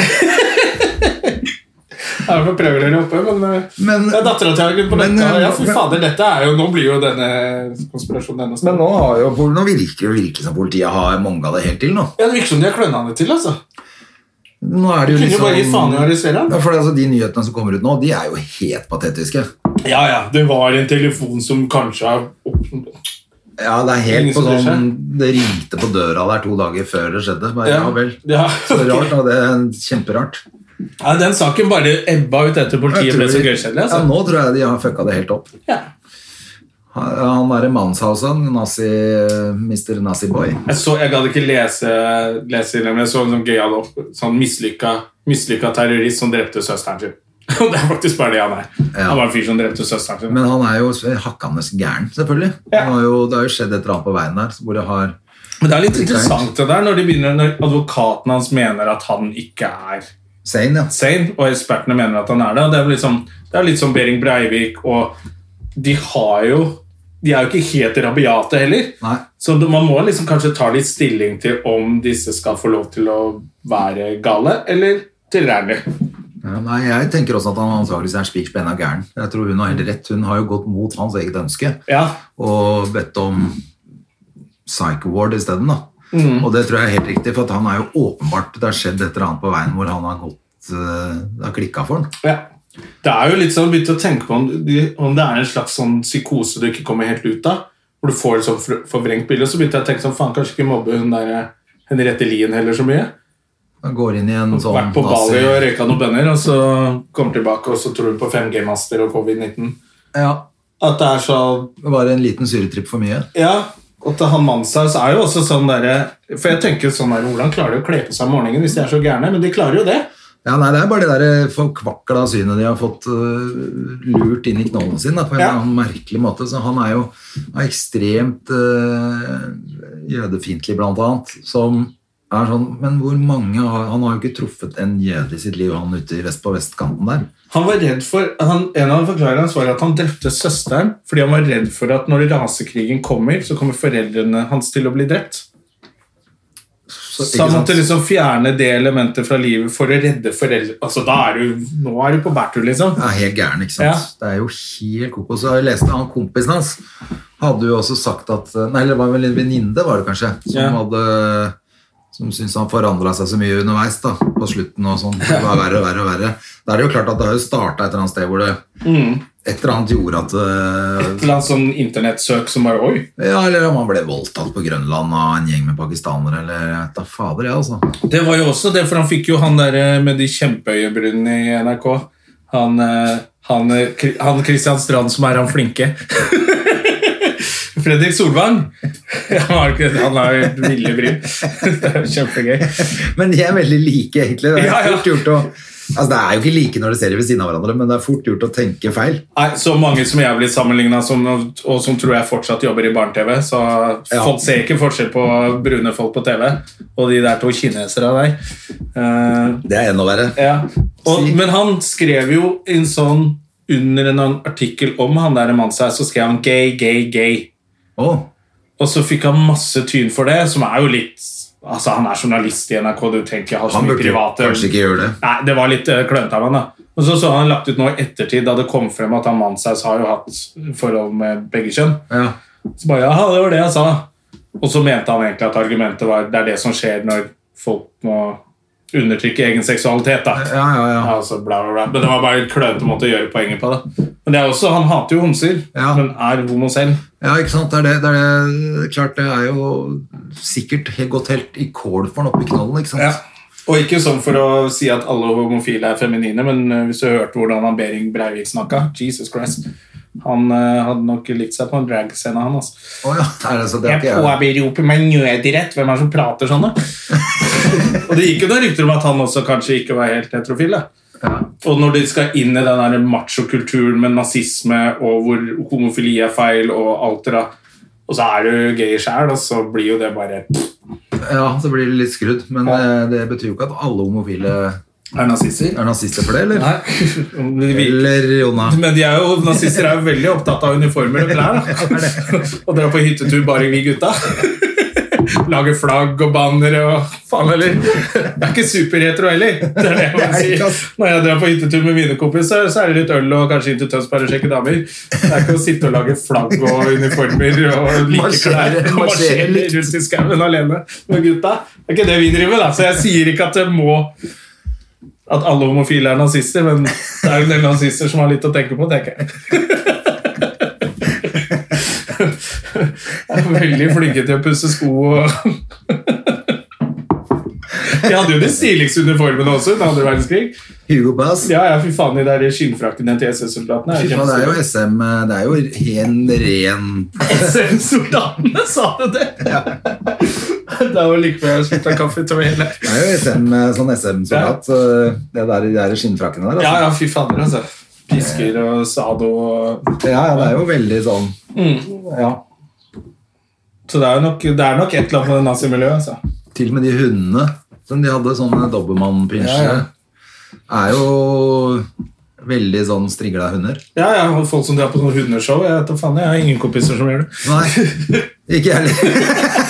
A: Det er vel prøvelører oppe, men eh,
B: Men,
A: Det er dattera til Hagen på
B: Men,
A: dette.
B: eh,
A: Ja, fy
B: men-
A: fader, dette er jo Nå blir jo denne konspirasjonen enda
B: men
A: større.
B: nå, har jo, nå virker det virkelig som politiet har monga det helt til nå.
A: Ja, det virker som de har kløna det til, altså.
B: Nå er det
A: De
B: jo
A: kunne jo bare gitt faen i å
B: liksom
A: arrestere han.
B: ja, for det, er altså, De nyhetene som kommer ut nå, de er jo helt patetiske.
A: Ja, ja, det var en telefon som kanskje har opp...
B: Ja, Det er helt
A: Ingen
B: på
A: som bryr
B: sånn Det ringte på døra der to dager før det skjedde. Bare, ja. vel.
A: ja.
B: Så rart, da. Det er kjemperart.
A: ja, Den saken bare ebba ut etter
B: Jeg
A: politiet
B: tror
A: ble så
B: de-
A: gøykjedelig.
B: ja,
A: Altså.
B: nå tror jeg de har fucka det helt opp.
A: Ja.
B: Han han derre Manshausen, nazi, Mr. Nazi Boy.
A: Jeg, så, jeg gadd ikke lese leserinnlegget, men jeg så en sånn gøyal opp sånn mislykka, mislykka terrorist som drepte søsteren sin. Og det er faktisk bare det han er.
B: Ja.
A: Han var en fyr som drepte søsteren sin.
B: Men han er jo hakkende gæren, selvfølgelig.
A: Ja.
B: Han har jo, det har jo skjedd et eller annet på veien der. Hvor det har
A: Men det er litt
B: Litt
A: interessant det der når, de begynner, når advokaten hans mener at han ikke er
B: Sein, ja.
A: sane, og ekspertene mener at han er det. og Det er jo litt sånn, det er litt som Behring Breivik, og de har jo De er jo ikke helt rabiate heller.
B: Nei.
A: Så det- man må liksom kanskje ta litt stilling til om disse skal få lov til å være gale eller tilregnelige.
B: Ja, nei, jeg tenker også at han antakeligvis er spikspenna gæren. Jeg tror hun har helt rett. Hun har jo gått mot hans eget ønske
A: Ja.
B: og bedt om psych ward isteden, da.
A: Mm.
B: Og det tror jeg er helt riktig, for at han er jo åpenbart Det har skjedd et eller annet på veien hvor han har gått eh, Det har klikka for han.
A: ja. Det er jo litt sånn, begynte å tenke på om, om det er en slags sånn psykose du ikke kommer helt ut av. Hvor du får et sånn for- forvrengt bilde. Og så begynte jeg å tenke sånn, faen, kanskje ikke mobbe hun der eh, Henriette Lien heller så mye.
B: Han går inn i en sånn
A: Vært på
B: nazi-
A: Bali og røyka noen bønner, og så kommer tilbake, og så tror hun på 5G-master og covid-19.
B: Ja.
A: At det er så
B: Det var en liten syretripp for mye.
A: Ja. Og til han Manshaus er jo også sånn derre For jeg tenker sånn der, Hvordan klarer de å kle på seg om morgenen hvis de er så gærne? Men de klarer jo det.
B: Ja, nei, Det er bare det der eh, forkvakla synet de har fått øh, lurt inn i knollen sin da, på en
A: Ja.
B: eller annen merkelig måte. Så Han er jo er ekstremt øh, jødefiendtlig, blant annet. Som er sånn Men hvor mange har Han har jo ikke truffet en jøde i sitt liv, han ute i vest på vestkanten der.
A: Han var redd for, han, En av forklaringene hans var at han drepte søsteren fordi han var redd for at når rasekrigen kommer, så kommer foreldrene hans til å bli drept.
B: Så,
A: Så
B: ikke
A: han måtte
B: sant?
A: liksom fjerne det elementet fra livet for å redde foreldre... Altså, da er du, Nå er du på bærtur, liksom.
B: Ja, helt gæren, ikke sant?
A: Ja.
B: Det er jo helt kokos. Og Jeg leste han kompisen hans hadde jo også sagt at Nei, det var vel en venninne, var det kanskje, som
A: Ja.
B: hadde som syns han forandra seg så mye underveis da, på slutten. og sånn. Det var verre og verre og verre. Da er det jo klart at det har jo starta et eller annet sted hvor det
A: Mm.
B: et eller annet gjorde at eh,
A: Et eller annet sånn internettsøk som bare Oi!
B: Ja, eller om han ble voldtatt på Grønland av en gjeng med pakistanere, eller jeg vet da fader, jeg, altså.
A: Det var jo også det, for han fikk jo han der eh, med de kjempeøyebrynene i NRK. Han, eh, han, eh, Kri- han Christian Strand som er han flinke. Fredrik Solvang. Han har ikke- han har jo ville bryn. Det er jo Kjempegøy.
B: Men de er veldig like, egentlig. Det er,
A: Ja, ja.
B: Fort gjort å, altså, det er jo ikke like når de ser de ved siden av hverandre, men det er fort gjort å tenke feil.
A: Nei, Så mange som jeg har blitt sammenligna som, og som tror jeg fortsatt jobber i barne-TV. Så
B: Ja.
A: folk ser ikke forskjell på brune folk på TV og de der to kinesere der. Eh,
B: Det er enda verre.
A: ja. og,
B: Si.
A: men han skrev jo en sånn under en artikkel om han der mannen seg, så skrev han 'gay, gay, gay'.
B: Åh,
A: Og så fikk han masse tyn for det, som er jo litt Altså, han er journalist i NRK, du trenger ikke ha så
B: han
A: mye
B: burde jo
A: private
B: kanskje ikke gjøre det.
A: Nei, det var litt eh, klønete av han da. Og så så han lagt ut nå i ettertid, da det kom frem at han Manshaus har jo hatt forhold med begge kjønn.
B: Ja.
A: Så bare, ja, det var det jeg sa. Og så mente han egentlig at argumentet var det er det som skjer når folk må undertrykke egen seksualitet. da.
B: Ja, ja, ja.
A: Altså, bla, bla, bla. Men det var bare en klønete måte å gjøre poenget på. da. Men det er også, Han hater jo homser,
B: Ja.
A: men er homo selv.
B: Ja, ikke sant? Det er det, det er det. Klart, det er jo sikkert helt gått helt i kål for han oppe i knollen, ikke sant?
A: Ja. Og ikke sånn for å si at alle homofile er feminine, men eh, hvis du hørte hvordan han Behring Breivik snakka Jesus Christ. Han eh, hadde nok likt seg på en dragscene, han. altså.
B: Å, ja. Er det, så det er
A: Jeg
B: ikke jeg.
A: påberoper meg nødrett. Hvem er det som prater sånn, da? og det gikk jo da rykter om at han også kanskje ikke var helt heterofil. da. Og når de skal inn i den der machokulturen med nazisme og hvor homofili er feil og alt det da, og så er du gay sjæl, og så blir jo det bare
B: Ja, så blir det litt skrudd. Men eh, det betyr jo ikke at alle homofile
A: Er nazister?
B: er nazister for det, eller?
A: Nei.
B: Eller Jonna.
A: Men de er jo, nazister er jo veldig opptatt av uniformer og klær. Da. Og dra på hyttetur bare vi gutta. Lage flagg og bannere og faen heller. Jeg er ikke superhetero heller. Det er det jeg må
B: Nei, ikke
A: si.
B: ass.
A: Når jeg drar på hyttetur med mine kompiser, så er det litt øl og kanskje inn til Tønsberg og sjekke damer. Det er ikke å sitte og lage flagg og uniformer og like klær
B: Marsjere-
A: og marsjere
B: marsjere likt.
A: rundt i skauen alene med gutta. Det er ikke det vi driver med, da. Så jeg sier ikke at det må at alle homofile er nazister, men det er jo en del nazister som har litt å tenke på, tenker jeg. Jeg er veldig flinke til å pusse sko og De hadde jo de stiligste uniformene også under andre verdenskrig.
B: Hugo Bass.
A: Ja, ja, fy faen, de der skinnfrakkene til SS-soldatene.
B: Fy faen, det er jo SM eh, Det er jo en ren
A: SS-soldatene, sa du det? Det var like før jeg slutta kaffe til meg hele.
B: Det er jo SM, eh, sånn SM-soldat. eh, Det der, de der skinnfrakkene der.
A: Ja,
B: Altså.
A: ja, fy fader, altså. Pisker og sado og
B: Ja, ja, det er jo veldig sånn Ja.
A: Så det er nok, det er nok et eller annet med det nazimiljøet. Altså.
B: Til og med de hundene som de hadde, sånne Dobermann-pinsjer,
A: Ja,
B: er jo veldig sånn strigla hunder.
A: Ja, ja, og folk som drar på sånne hundeshow. Jeg, vet da faen, jeg har ingen kompiser som gjør det.
B: Nei, ikke jeg heller.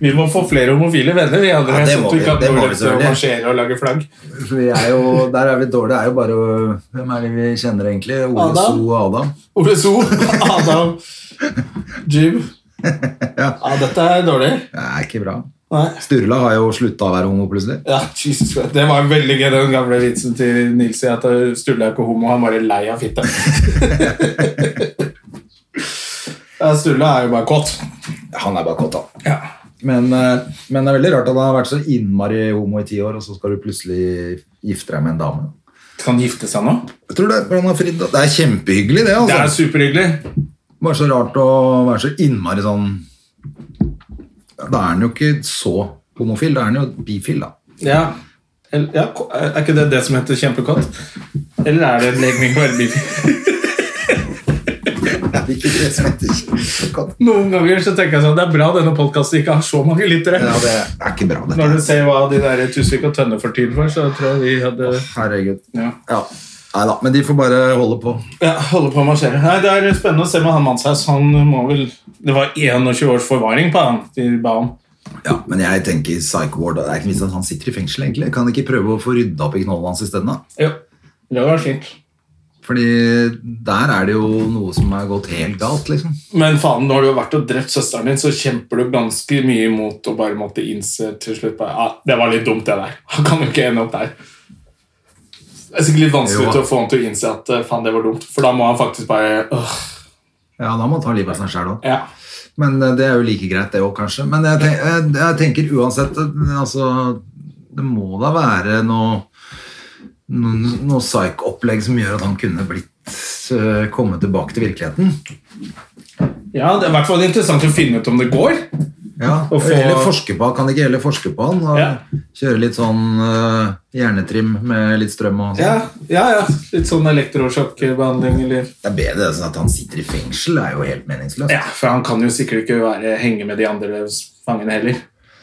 A: Vi må få flere homofile venner. Vi andre,
B: Ja, det
A: sånn
B: må
A: at vi
B: vi,
A: kan
B: det må vi
A: overleve til å
B: selvfølgelig.
A: marsjere og lage flagg.
B: For Vi er jo, der er vi dårlige. Det er jo bare å- Hvem er det vi kjenner, egentlig? Ole
A: Adam.
B: So og Adam.
A: Ole So, Adam, Jim. Ja, dette er dårlig.
B: Det er ikke bra.
A: Nei.
B: Sturla har jo slutta å være homo, plutselig.
A: Ja, Jesus Christ. Det var veldig gøy, den gamle vitsen til Nils i at Sturle er ikke homo, han bare er lei av fitte. ja, Sturle er jo bare kåt.
B: Han er bare kåt, han.
A: Ja.
B: Men, eh, men det er veldig rart at han har vært så innmari homo i ti år, og så skal du plutselig gifte deg med en dame.
A: Kan de gifte seg nå?
B: Jeg tror Det, for han har fridd, det er kjempehyggelig, det. altså.
A: Det er superhyggelig.
B: Bare så rart å være så innmari sånn Da er han jo ikke så homofil, da er han jo bifil, da.
A: Ja. Eller, ja, ko- er ikke det det som heter kjempekott? Eller er det en legning på elbil? Noen ganger så tenker jeg sånn, det er bra denne podcasten ikke har så mange lyttere.
B: Ja, det er ikke bra,
A: Når
B: dette.
A: du ser hva de der Tusvik og Tønne får tid for, så tror jeg vi hadde
B: Herregud.
A: ja.
B: Ja. Nei da, men de får bare holde på.
A: Ja, holde på å marsjere. Nei, Det er spennende å se med han Manshaus. Han må vel Det var 21 års forvaring på han de ba om.
B: Ja, Men jeg tenker Psycho Ward Det er ikke minst at han sitter i fengsel, egentlig. Kan de ikke prøve å få rydda opp i knollen hans isteden, da?
A: Jo, det var fint.
B: Fordi der er det jo noe som er gått helt galt, liksom.
A: Men faen, når du har vært og drept søsteren din, så kjemper du ganske mye imot å bare måtte innse til slutt bare, ah, Det var litt dumt, det der. Han kan jo ikke ende opp der. Det er sikkert litt vanskelig
B: Jo.
A: til å få han til å innse at eh, faen, det var dumt, for da må han faktisk bare øh,
B: Ja, da må man ta livet av seg sjæl òg.
A: ja.
B: Men eh, det er jo like greit, det òg, kanskje. Men jeg, tenk, jeg, jeg tenker uansett eh, Altså, det må da være noe noe, noe psyk-opplegg som gjør at han kunne blitt eh, komme tilbake til virkeligheten.
A: ja, det er i hvert fall interessant å finne ut om det går.
B: Ja,
A: Og få-
B: eller forske på, Kan de ikke heller forske på han? Og
A: Ja.
B: Kjøre litt sånn eh, hjernetrim med litt strøm og sånn.
A: Ja, ja, ja. Litt sånn elektrosjokkbehandling eller
B: Det er bedre det, sånn at han sitter i fengsel, er jo helt meningsløst.
A: Ja, for han kan jo sikkert ikke være, henge med de andre fangene heller.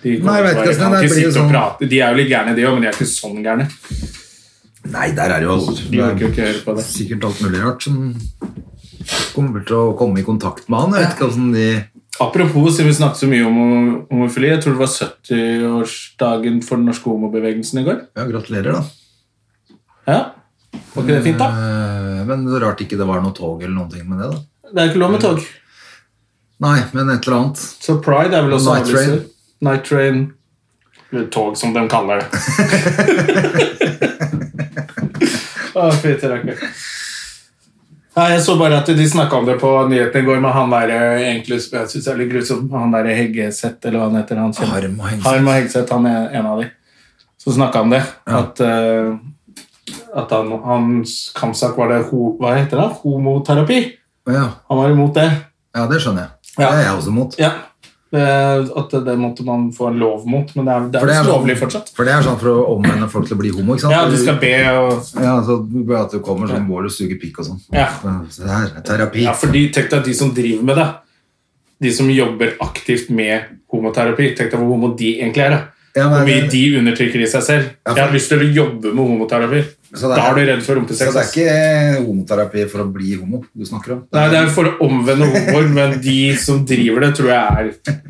A: De, kommer
B: Nei, jeg vet
A: til å
B: ikke,
A: være- kan
B: det
A: ikke
B: blir jo
A: sitte og
B: sånn-
A: prate. de er jo litt gærne, de òg, men de er ikke sånn gærne.
B: Nei, der er det jo alt.
A: De orker jo ikke høre på det.
B: sikkert alt mulig rart som kommer til å komme i kontakt med han. Jeg vet ikke hvordan de
A: Apropos, siden vi snakket så mye om homo- homofili, jeg tror det var 70-årsdagen for den norske homobevegelsen i går.
B: Ja, gratulerer, da.
A: Ja, Var ikke det fint, da?
B: Eh, Men det er rart ikke det var noe tog eller noen ting med det, da.
A: Det er ikke lov med tog.
B: Nei, men et eller annet.
A: Så Pride er vel også
B: Night Train.
A: avlyst. Night Train. Eller tog, som de kaller det. Å, fytti rakker. Nei, Jeg så bare at de snakka om det på nyhetene i går, med han der eh, egentlig, som jeg synes er litt grusom, han der Heggeseth, eller hva han heter. Han kjempe-
B: Harm og hengsel.
A: Harm og Hegseth, han er en av de. Så snakka han om det. At, eh, at han, hans kampsak var det ho, Hva heter det? Homoterapi.
B: Ja,
A: Han var imot det.
B: ja, det skjønner jeg.
A: Ja.
B: Det er jeg også imot.
A: Ja. Det, Eh, at det, det måtte man få en lov mot, men det er, det er
B: For det
A: visst
B: er sånn-
A: lovlig fortsatt.
B: For det er sånn for å omvende folk til å bli homo, ikke sant?
A: Ja, du skal be og
B: Ja, så bare at du kommer sånn mål og suger pikk og sånn.
A: Ja.
B: Så det her, er terapi.
A: Ja, for de, tenk deg de som driver med det. De som jobber aktivt med homoterapi. Tenk deg hvor homo de egentlig er. da.
B: Ja, men-
A: Hvor mye de undertrykker i seg selv.
B: Ja, for-
A: Jeg har lyst til å jobbe med homoterapi.
B: Så det er-
A: Da er du redd for
B: Så
A: rumpesex.
B: det
A: ass.
B: er ikke homoterapi for å bli homo du snakker om?
A: Nei, det er for å omvende homoer, men de som driver det, tror jeg er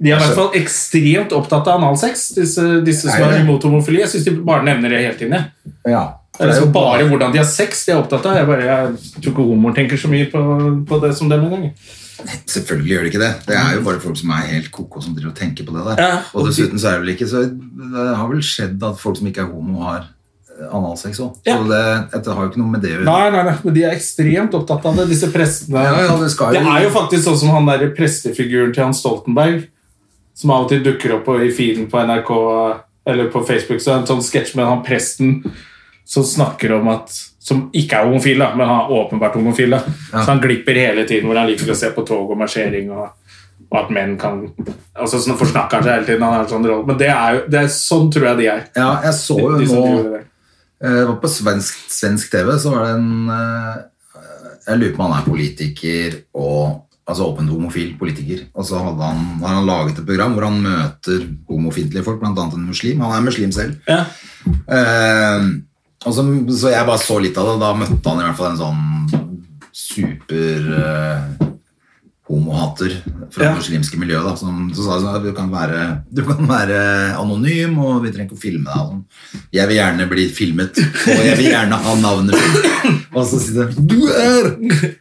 A: De er i hvert fall ekstremt opptatt av analsex, disse, disse som
B: Er det?
A: er imot homofili. Jeg syns de bare nevner det hele tiden. jeg.
B: ja.
A: Det er liksom bare hvordan de har sex de er opptatt av. Jeg, bare, jeg tror ikke homoer tenker så mye på, på det som dem engang.
B: Selvfølgelig gjør det ikke det. Det er jo bare folk som er helt koko som driver og tenker på det der.
A: Mm. Ja, og
B: og dessuten så er det vel ikke så Det har vel skjedd at folk som ikke er homo, har eh, analsex òg.
A: Ja.
B: Så det, det har jo ikke noe med det å gjøre.
A: Nei, nei, nei, men de er ekstremt opptatt av det, disse prestene.
B: Ja, ja, det skal jo-
A: er jo faktisk sånn som han der prestefiguren til Hans Stoltenberg, som av og til dukker opp på- i feeden på NRK eller på Facebook. Så er det en sånn sketsj med han presten som snakker om at Som ikke er homofil, da, men han er åpenbart homofil. da. Så han glipper hele tiden hvor han liker å se på tog og marsjering. og og at menn kan altså sånn Forsnakker han seg hele tiden. han har en sånn rolle, Men det er jo, det er sånn tror jeg de er.
B: Ja, jeg så jo
A: de som
B: nå
A: gjorde det.
B: eh, Det var på svensk, svensk TV, så var det en eh, Jeg lurer på om han er politiker og Altså åpent homofil politiker. Og så hadde han, har han laget et program hvor han møter homofiendtlige folk, bl.a. en muslim. Han er muslim selv.
A: Ja.
B: Eh, og så, så jeg bare så litt av det. Da møtte han i hvert fall en sånn super eh, homohater fra
A: Ja.
B: det muslimske miljøet da, som så sa sånn, at du kan, være, du kan være anonym, og vi trenger ikke å filme deg. og Sånn. Jeg vil gjerne bli filmet, og jeg vil gjerne ha navnet mitt. Og så sier de Du er!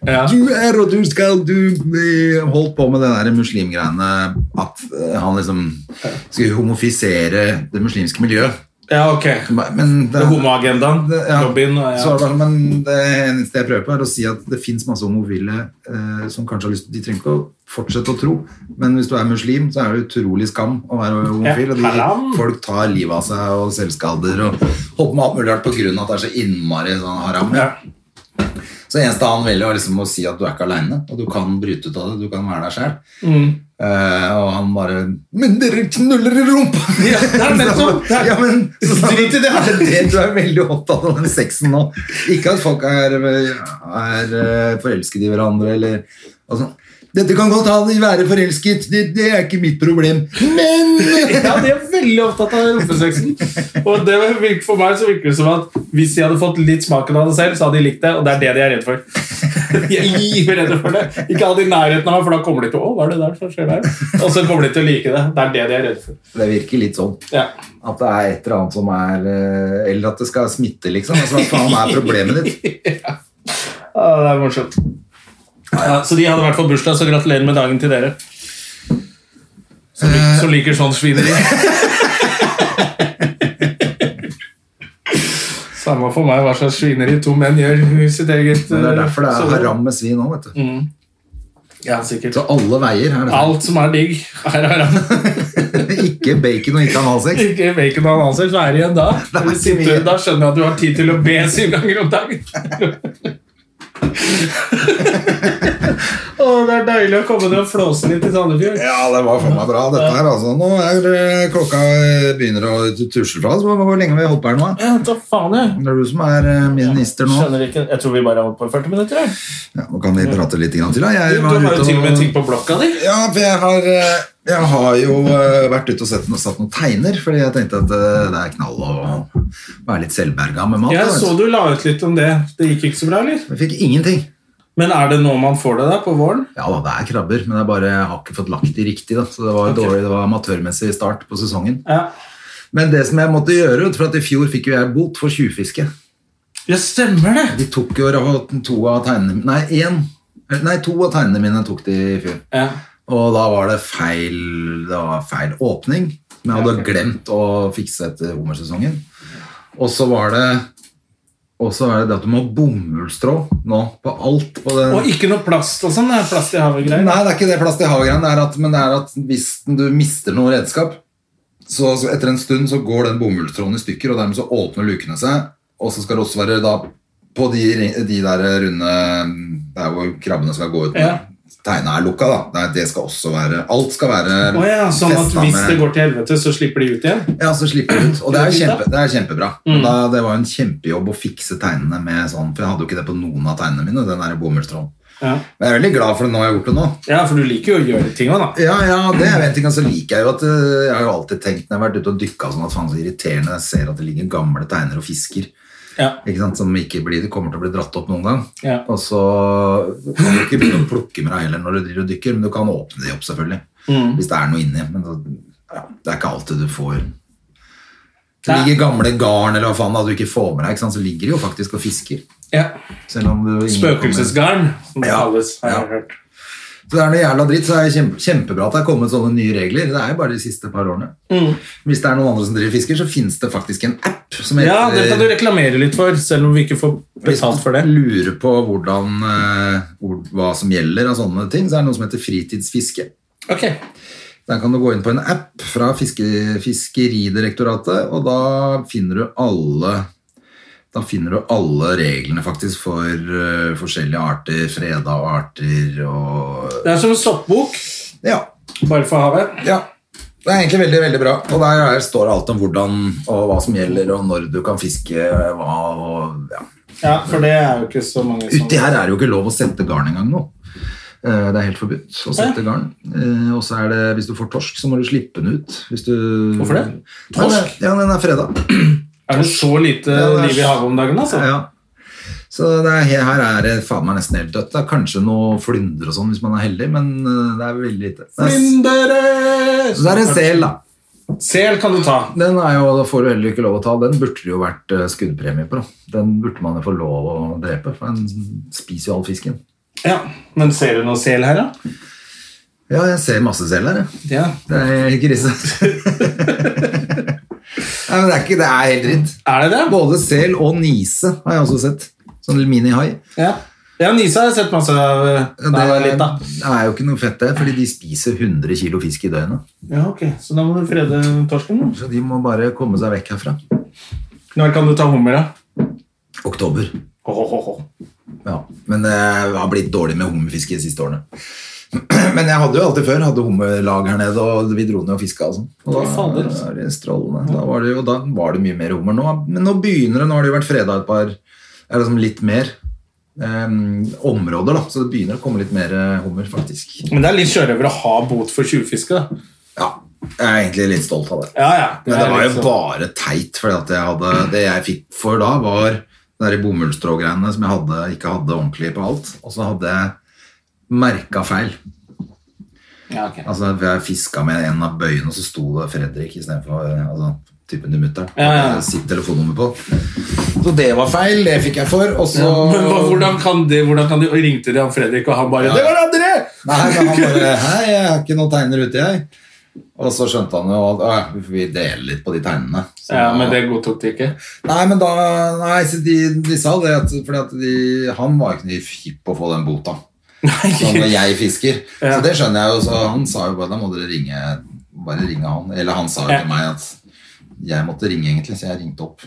A: Ja.
B: Du er, og du skal Du bli holdt på med den der muslimgreiene at eh, han liksom skulle homofisere det muslimske miljøet.
A: ja, ok.
B: Men
A: Det er homoagendaen.
B: det- ja.
A: Lobbyen. og-
B: Så er
A: Ja.
B: det bare, men det eneste jeg prøver på, er å si at det fins masse homofile eh, som kanskje har lyst De trenger ikke å fortsette å tro, men hvis du er muslim, så er det utrolig skam å være homofil.
A: Ja,
B: Og
A: haram.
B: de, folk tar livet av seg og selvskader og holder på med alt mulig rart på grunn av at det er så innmari sånn haram.
A: Ja.
B: Så eneste han ville, var liksom å si at du er ikke aleine, og du kan bryte ut av det. Du kan være deg sjæl.
A: Mm.
B: og han bare Men dere knuller i rumpa!
A: Ja, det er nettopp det.
B: Ja, men så sa han,
A: Drit i det.
B: er det du er veldig opptatt av den sexen nå. Ikke at folk er, er eh, forelsket i hverandre eller altså, Dette kan godt ha det i være forelsket, det, det er ikke mitt problem. Men
A: ja, de er veldig opptatt av rumpesexen. Og det virker, for meg så virker det som at hvis de hadde fått litt smaken av det selv, så hadde de likt det, og det er det de er redd for. De er livredde for det. Ikke ha det i nærheten av meg, for da kommer de til å Å, hva er det der som skjer der? Og så kommer de til å like det. Det er det de er redde for.
B: Det virker litt sånn.
A: Ja.
B: At det er et eller annet som er eh, Eller at det skal smitte, liksom. Altså, hva faen er problemet ditt?
A: Ja, det er morsomt. Ja, så de hadde i hvert fall bursdag, så gratulerer med dagen til dere. Som, lik- som liker sånn svineri. Samme for meg hva slags svineri to menn gjør i sitt eget
B: Men Det er derfor det
A: eh,
B: er
A: soverom.
B: haram med svin òg, vet du.
A: Ja, sikkert.
B: Så Mm. alle veier er det.
A: Alt som er digg, er haram.
B: Ikke bacon og ikke analsex.
A: Ikke bacon og analsex, hva er det igjen da?
B: er ikke
A: Sitter-
B: mye.
A: Da skjønner jeg at du har tid til å be syv ganger om dagen. Å, det er deilig å komme ned og flåse litt i Sandefjord.
B: Ja, det var for meg bra, dette her. Altså. Nå er eh, klokka eh, begynner å tusle fra. oss. Hvor hvor lenge har vi holdt på her nå?
A: Ja, da faen jeg.
B: Det er du som er eh, minister nå.
A: Skjønner ikke. Jeg tror vi bare har holdt på i 40 minutter. jeg.
B: Ja, nå kan vi prate litt grann til. Da.
A: Du
B: Jeg var
A: har
B: ute
A: jo til og med ting
B: og
A: på blokka di.
B: ja, for jeg har, eh, jeg har jo eh, vært ute og sett, noe- satt noen tegner, fordi jeg tenkte at eh, det er knall å være litt selvberga med mat.
A: Jeg
B: da, vet
A: så
B: du.
A: du la ut litt om det. Det gikk ikke så bra, eller?
B: Jeg fikk ingenting.
A: Men er det nå man får det der, på våren?
B: Ja da, det er krabber, men jeg bare har ikke fått lagt de riktig. Da. Så det var dårlig, det var amatørmessig start på sesongen.
A: Ja.
B: Men det som jeg måtte gjøre, vet du, for at i fjor fikk jo jeg bot for tjuvfiske.
A: Ja, stemmer det.
B: De tok jo to av tegnene Nei, én. Nei, to av tegnene mine tok de i fjor.
A: Ja.
B: Og da var det feil, det var feil åpning. Men jeg hadde glemt å fikse etter hummersesongen. Og så var det og så er det det at du må ha bomullstrå nå på alt. På det.
A: Og ikke noe plast og sånn? det er Plast i
B: Nei,
A: havet-greier?
B: det er ikke det plast i havet-greien. det er at- Men det er at hvis du mister noe redskap, så så etter en stund så går den bomullstråden i stykker, og dermed så åpner lukene seg. Og så skal det også være da på de, ri- de der runde mm, Der hvor krabbene skal gå ut.
A: Ja.
B: Tegnet er lukka, da. Det, er- det skal også være Alt skal være
A: Å ja, sånn at
B: festet
A: hvis
B: med-
A: det går til helvete, så slipper de ut igjen?
B: ja, så slipper du ut. Og det er, jo
A: Fint, da. Mm.
B: kjempe, det er kjempebra. Og Da, det var jo en kjempejobb å fikse tegnene med sånn, for jeg hadde jo ikke det på noen av tegnene mine, den der bomullstråden.
A: Ja.
B: Men jeg er veldig glad for det nå jeg har gjort det nå.
A: Ja, for du liker jo å gjøre ting òg, da.
B: Ja, ja, det er jo en ting, altså liker jeg jo at øh, jeg har jo alltid tenkt når jeg har vært ute og dykket sånn at faen så irriterende jeg ser at det ligger gamle tegner og fisker,
A: Ja.
B: ikke sant, som ikke blir, det kommer til å bli dratt opp noen gang.
A: Ja.
B: Og så kan du ikke begynne å plukke med deg heller når du driver og dykker, men du kan åpne de opp selvfølgelig,
A: Mm.
B: hvis det er noe inni, men så, ja, det er ikke alltid du får... Det
A: Nei.
B: ligger gamle garn eller hva faen da du ikke får med deg, ikke sant, så ligger de jo faktisk og fisker,
A: Ja.
B: selv om du...
A: Spøkelsesgarn, som det
B: Ja.
A: kalles. har jeg
B: Ja.
A: hørt.
B: Så det er noe jævla dritt, så er det kjempe, kjempebra at det er kommet sånne nye regler. Det er jo bare de siste par årene. Hvis det er noen andre som driver fisker, så finnes det faktisk en app som heter
A: Ja, det kan du
B: eh,
A: reklamere litt for, selv om vi ikke får
B: Hvis man
A: betalt for det.
B: lurer på hvordan, eh, hvor, hva som gjelder av sånne ting, så er det noe som heter fritidsfiske.
A: Ok.
B: Der kan du gå inn på en app fra fiske, Fiskeridirektoratet, og da finner du alle da finner du alle reglene faktisk for eh, forskjellige arter, freda arter og
A: Det er som en soppbok,
B: Ja,
A: bare for havet.
B: Ja. Det er egentlig veldig veldig bra. Og der er- står det alt om hvordan og hva som gjelder, og når du kan fiske hva og ja.
A: Ja, for det er jo ikke så mange som
B: Uti her er det jo ikke lov å sette garn engang nå. Eh, Det er helt forbudt å sette garn. Eh, Og så er det, hvis du får torsk, så må du slippe den ut. Hvis du
A: Hvorfor det?
B: Nei, det-
A: Torsk?
B: Ja, den er freda.
A: Er det så lite
B: Ja, det er-
A: liv i havet om dagen, altså?
B: Ja. Så det er, he- her er det faen meg nesten helt dødt. Det er kanskje noe flyndre og sånn hvis man er heldig, men eh, det er veldig lite. Det er,
A: Flyndere!
B: så det er en sel, da.
A: Sel kan du ta.
B: Den er jo, da får du heller ikke lov å ta. Den burde det jo vært eh, skuddpremie på. Da. Den burde man jo få lov å drepe, for den spiser jo all fisken.
A: Ja, Men ser du noe sel her, da?
B: Ja, jeg ser masse sel her, jeg.
A: Ja.
B: Det er krise. Nei, men det er, ikke, det er helt dritt.
A: Er det det?
B: Både sel og nise har jeg også sett. Sånn minihai.
A: Ja. Ja, Nisa har jeg sett masse av.
B: Det,
A: eh, Da jeg var litt, da.
B: det er jo ikke noe fett, det, fordi de spiser 100 kilo fisk i døgnet.
A: Ja, ok. Så da må du frede torsken. da.
B: Så de må bare komme seg vekk herfra.
A: Når kan du ta hummer, da?
B: Oktober.
A: Ho, ho, ho, ho.
B: Ja, men jeg har blitt dårlig med hummerfiske de siste årene. Men jeg hadde jo alltid før hadde hummerlag her nede, og vi dro ned og fiska. Og sånn. Og
A: Fy fader.
B: da, var det strålende. da var det jo da var det mye mer hummer. Nå, men nå begynner det, nå har det jo vært freda et par eller liksom litt mer em, områder, da, så det begynner å komme litt mer eh, hummer, faktisk.
A: Men det er litt sjørøver å ha bot for tjuvfiske, da.
B: Ja, jeg er egentlig litt stolt av det.
A: Ja, ja.
B: Men det
A: er
B: var
A: litt
B: jo
A: sånn.
B: bare teit, for det jeg fikk for da, var det der bomullstrågreiene som jeg hadde, ikke hadde ordentlig på alt. Og så hadde jeg merka feil.
A: ja, ok.
B: Altså, Jeg fiska med en av bøyene, og så sto det Fredrik istedenfor altså, typen til mutter'n.
A: Ja, ja.
B: Sitt telefonnummer på. Så det var feil, det fikk jeg for. Og så
A: Men hva, hvordan kan de, hvordan kan de og ringte de han Fredrik, og han bare
B: Ja.
A: Det var andre!
B: Nei, men han bare Hei, jeg har ikke noen tegner ute, jeg. Og så skjønte han jo at «Å, ja, vi deler litt på de tegnene. Så
A: Ja,
B: da-
A: Men det godtok de ikke.
B: Nei, men da Nei, så de, de sa det, at, fordi at de, han var ikke noe hipp på å få den bota. Som når jeg fisker.
A: Ja.
B: Så det skjønner jeg jo. Så han sa jo bare da må dere ringe Bare ringe han. Eller han sa jo
A: Ja.
B: til meg at jeg måtte ringe, egentlig, så jeg ringte opp.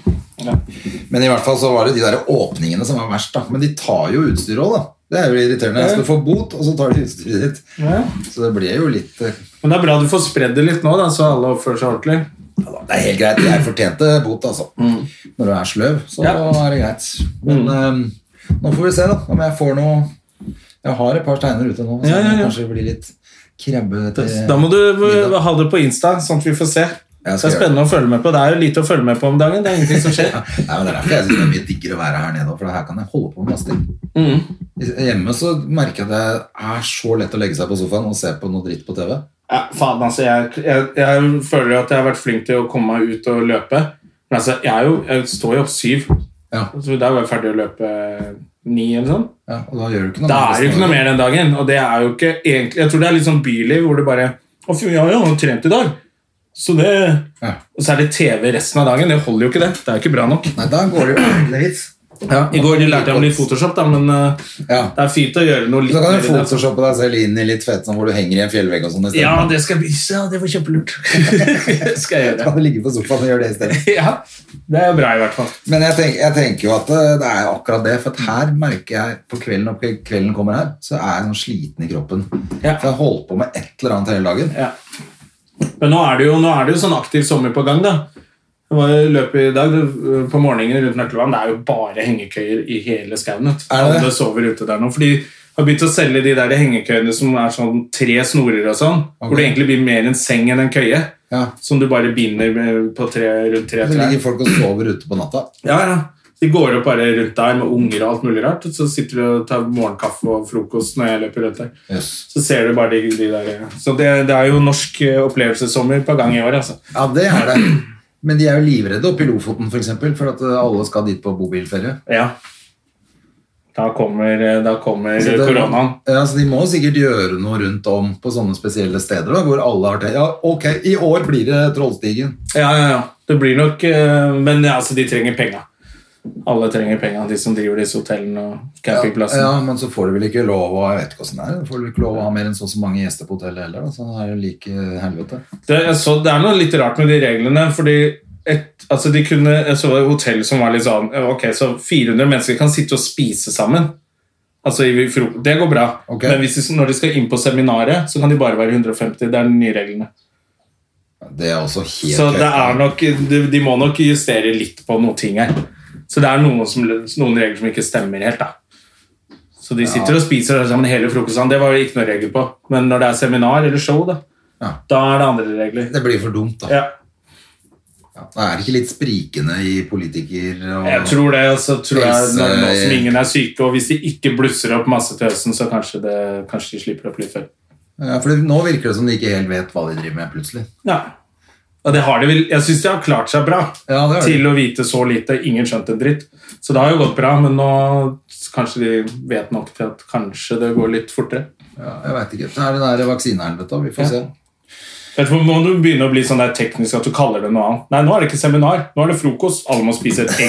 B: Men i hvert fall så var det de der åpningene som var verst, da. Men de tar jo utstyret òg, da. Det er jo irriterende.
A: Ja.
B: Du får bot, og så tar de utstyret ditt. Så det ble jo litt eh,
A: Men det er bra du får spredd det litt nå, da, så alle oppfører seg ordentlig.
B: ja, da, Det er helt greit. Jeg fortjente bot, altså. Når du er sløv, så
A: Mm. Ja. Mm.
B: er det greit. Men eh, nå får vi se, da. Om jeg får noe Jeg har et par steiner ute nå, så
A: Ja, ja, ja.
B: kanskje det blir litt krabbe til
A: Da må du eh, ha det på Insta, sånn at vi får se. Det
B: Jeg
A: er
B: skal gjøre
A: spennende å følge med på. Det er jo lite å følge med på om dagen. Det er ingenting som skjer.
B: Nei, men Det er derfor jeg synes det er mye diggere å være her nede, for her kan jeg holde på med masse ting.
A: Mm.
B: Hjemme så merker jeg at det er så lett å legge seg på sofaen og se på noe dritt på TV.
A: Ja, faen, altså, jeg, jeg, jeg føler at jeg har vært flink til å komme meg ut og løpe. Men altså, jeg, er jo, jeg står jo opp syv,
B: Ja,
A: så da var jeg ferdig å løpe eh, ni eller sånn.
B: ja og da gjør du ikke noe
A: Da
B: med
A: er det jo ikke noe mer den dagen. Og det er jo ikke egentlig Jeg tror det er litt sånn byliv hvor du bare Å, fy, ja, ja, han har trent i dag. Så det
B: Ja.
A: Og så er det TV resten av dagen. Det holder jo ikke, det. Det er jo ikke bra nok.
B: Nei, da går det jo ordentlig hits.
A: Ja, I går lærte jeg om litt Photoshop, da, men eh,
B: Ja.
A: det er fint å gjøre noe litt
B: Så kan
A: mer
B: du
A: i det.
B: photoshoppe deg selv inn i litt fett sånn hvor du henger i en fjellvegg og sånn i stedet.
A: Ja, det skal jeg vise. Ja, det var kjempelurt. det skal jeg
B: Så
A: gjøre.
B: kan du ligge på sofaen og gjøre det i stedet.
A: Ja, det er bra i hvert fall.
B: Men jeg, tenk, jeg tenker jo at det, det er akkurat det, for at her merker jeg på kvelden og kvelden kommer her, så er jeg sånn sliten i kroppen.
A: Ja.
B: For jeg holdt på med et eller annet hele dagen.
A: Ja. Men nå er, det jo, nå er det jo sånn aktiv sommer på gang, da. Det var jo løp i dag det- øh, på morgenen rundt Nøklevann. Det er jo bare hengekøyer i hele skauen. vet du.
B: Er det det?
A: Alle sover ute der nå. For de har begynt å selge de der hengekøyene som er sånn tre snorer og sånn. Hvor det egentlig blir mer en seng enn en køye.
B: Ja.
A: Som du bare binder med- på tre, rundt tre
B: Så
A: trær.
B: ligger folk og sover ute på natta.
A: Ja, ja. De går opp bare rundt der med unger og alt mulig rart. Og så sitter du og tar morgenkaffe og frokost når jeg løper rundt der.
B: Yes.
A: Så ser du bare de, de der Så det, det er jo norsk eh, opplevelsessommer på gang i år, altså.
B: Ja, det er det. Men de er jo livredde oppe i Lofoten, for eksempel, for at eh, alle skal dit på bobilferie.
A: Ja. Da kommer, eh, da kommer
B: Så Altså, det-
A: koronaen.
B: Ja, så de må sikkert gjøre noe rundt om på sånne spesielle steder, da, hvor alle har tenkt, ja, ok, i år blir det Trollstigen.
A: Ja, ja, ja. Det blir nok eh, Men ja, altså, de trenger penga. Alle trenger penga, de som driver disse hotellene og campingplassene.
B: Ja, men så får du vel ikke lov å Jeg vet ikke hvordan det er. Får du ikke lov å ha mer enn så og så mange gjester på hotellet heller, da? Så det er jo like helvete.
A: Det, jeg så, det er noe litt rart med de reglene, fordi et, altså de kunne, jeg så et hotell som var litt sånn eh, Ok, så 400 mennesker kan sitte og spise sammen. Altså, i fro- Det går bra.
B: Ok.
A: Men hvis de, når de skal inn på seminaret, så kan de bare være 150. Det er de nye reglene.
B: Det er også helt
A: Så
B: høyt.
A: det er nok, de, de må nok justere litt på noen ting her. Så det er noen, som, noen regler som ikke stemmer helt, da. Så de sitter og spiser sammen hele frokosten. Det var jo ikke noe regel på. Men når det er seminar eller show, da,
B: Ja.
A: da er det andre regler.
B: Det blir for dumt, da.
A: Ja.
B: Ja. Da Er det ikke litt sprikende i politiker og
A: Jeg tror det, og så tror jeg
B: Helse-
A: nå nå som ingen er syke, og hvis de ikke blusser opp masse til høsten, så kanskje, det, kanskje de slipper opp litt før.
B: ja, For det, nå virker det som de ikke helt vet hva de driver med, plutselig.
A: Ja. Og det har de vel, jeg syns de har klart seg bra
B: Ja, det har de.
A: til å vite så lite. Ingen skjønte en dritt. Så det har jo gått bra, men nå kanskje de vet nok til at kanskje det går litt fortere.
B: Ja, jeg vet ikke. Det er det der vaksinehelvetet, da. vi får
A: Ja.
B: se.
A: Vet du, må du begynne å bli sånn der teknisk at du kaller det noe annet. Nei, nå er det ikke seminar, nå er det frokost. Alle må spise et egg.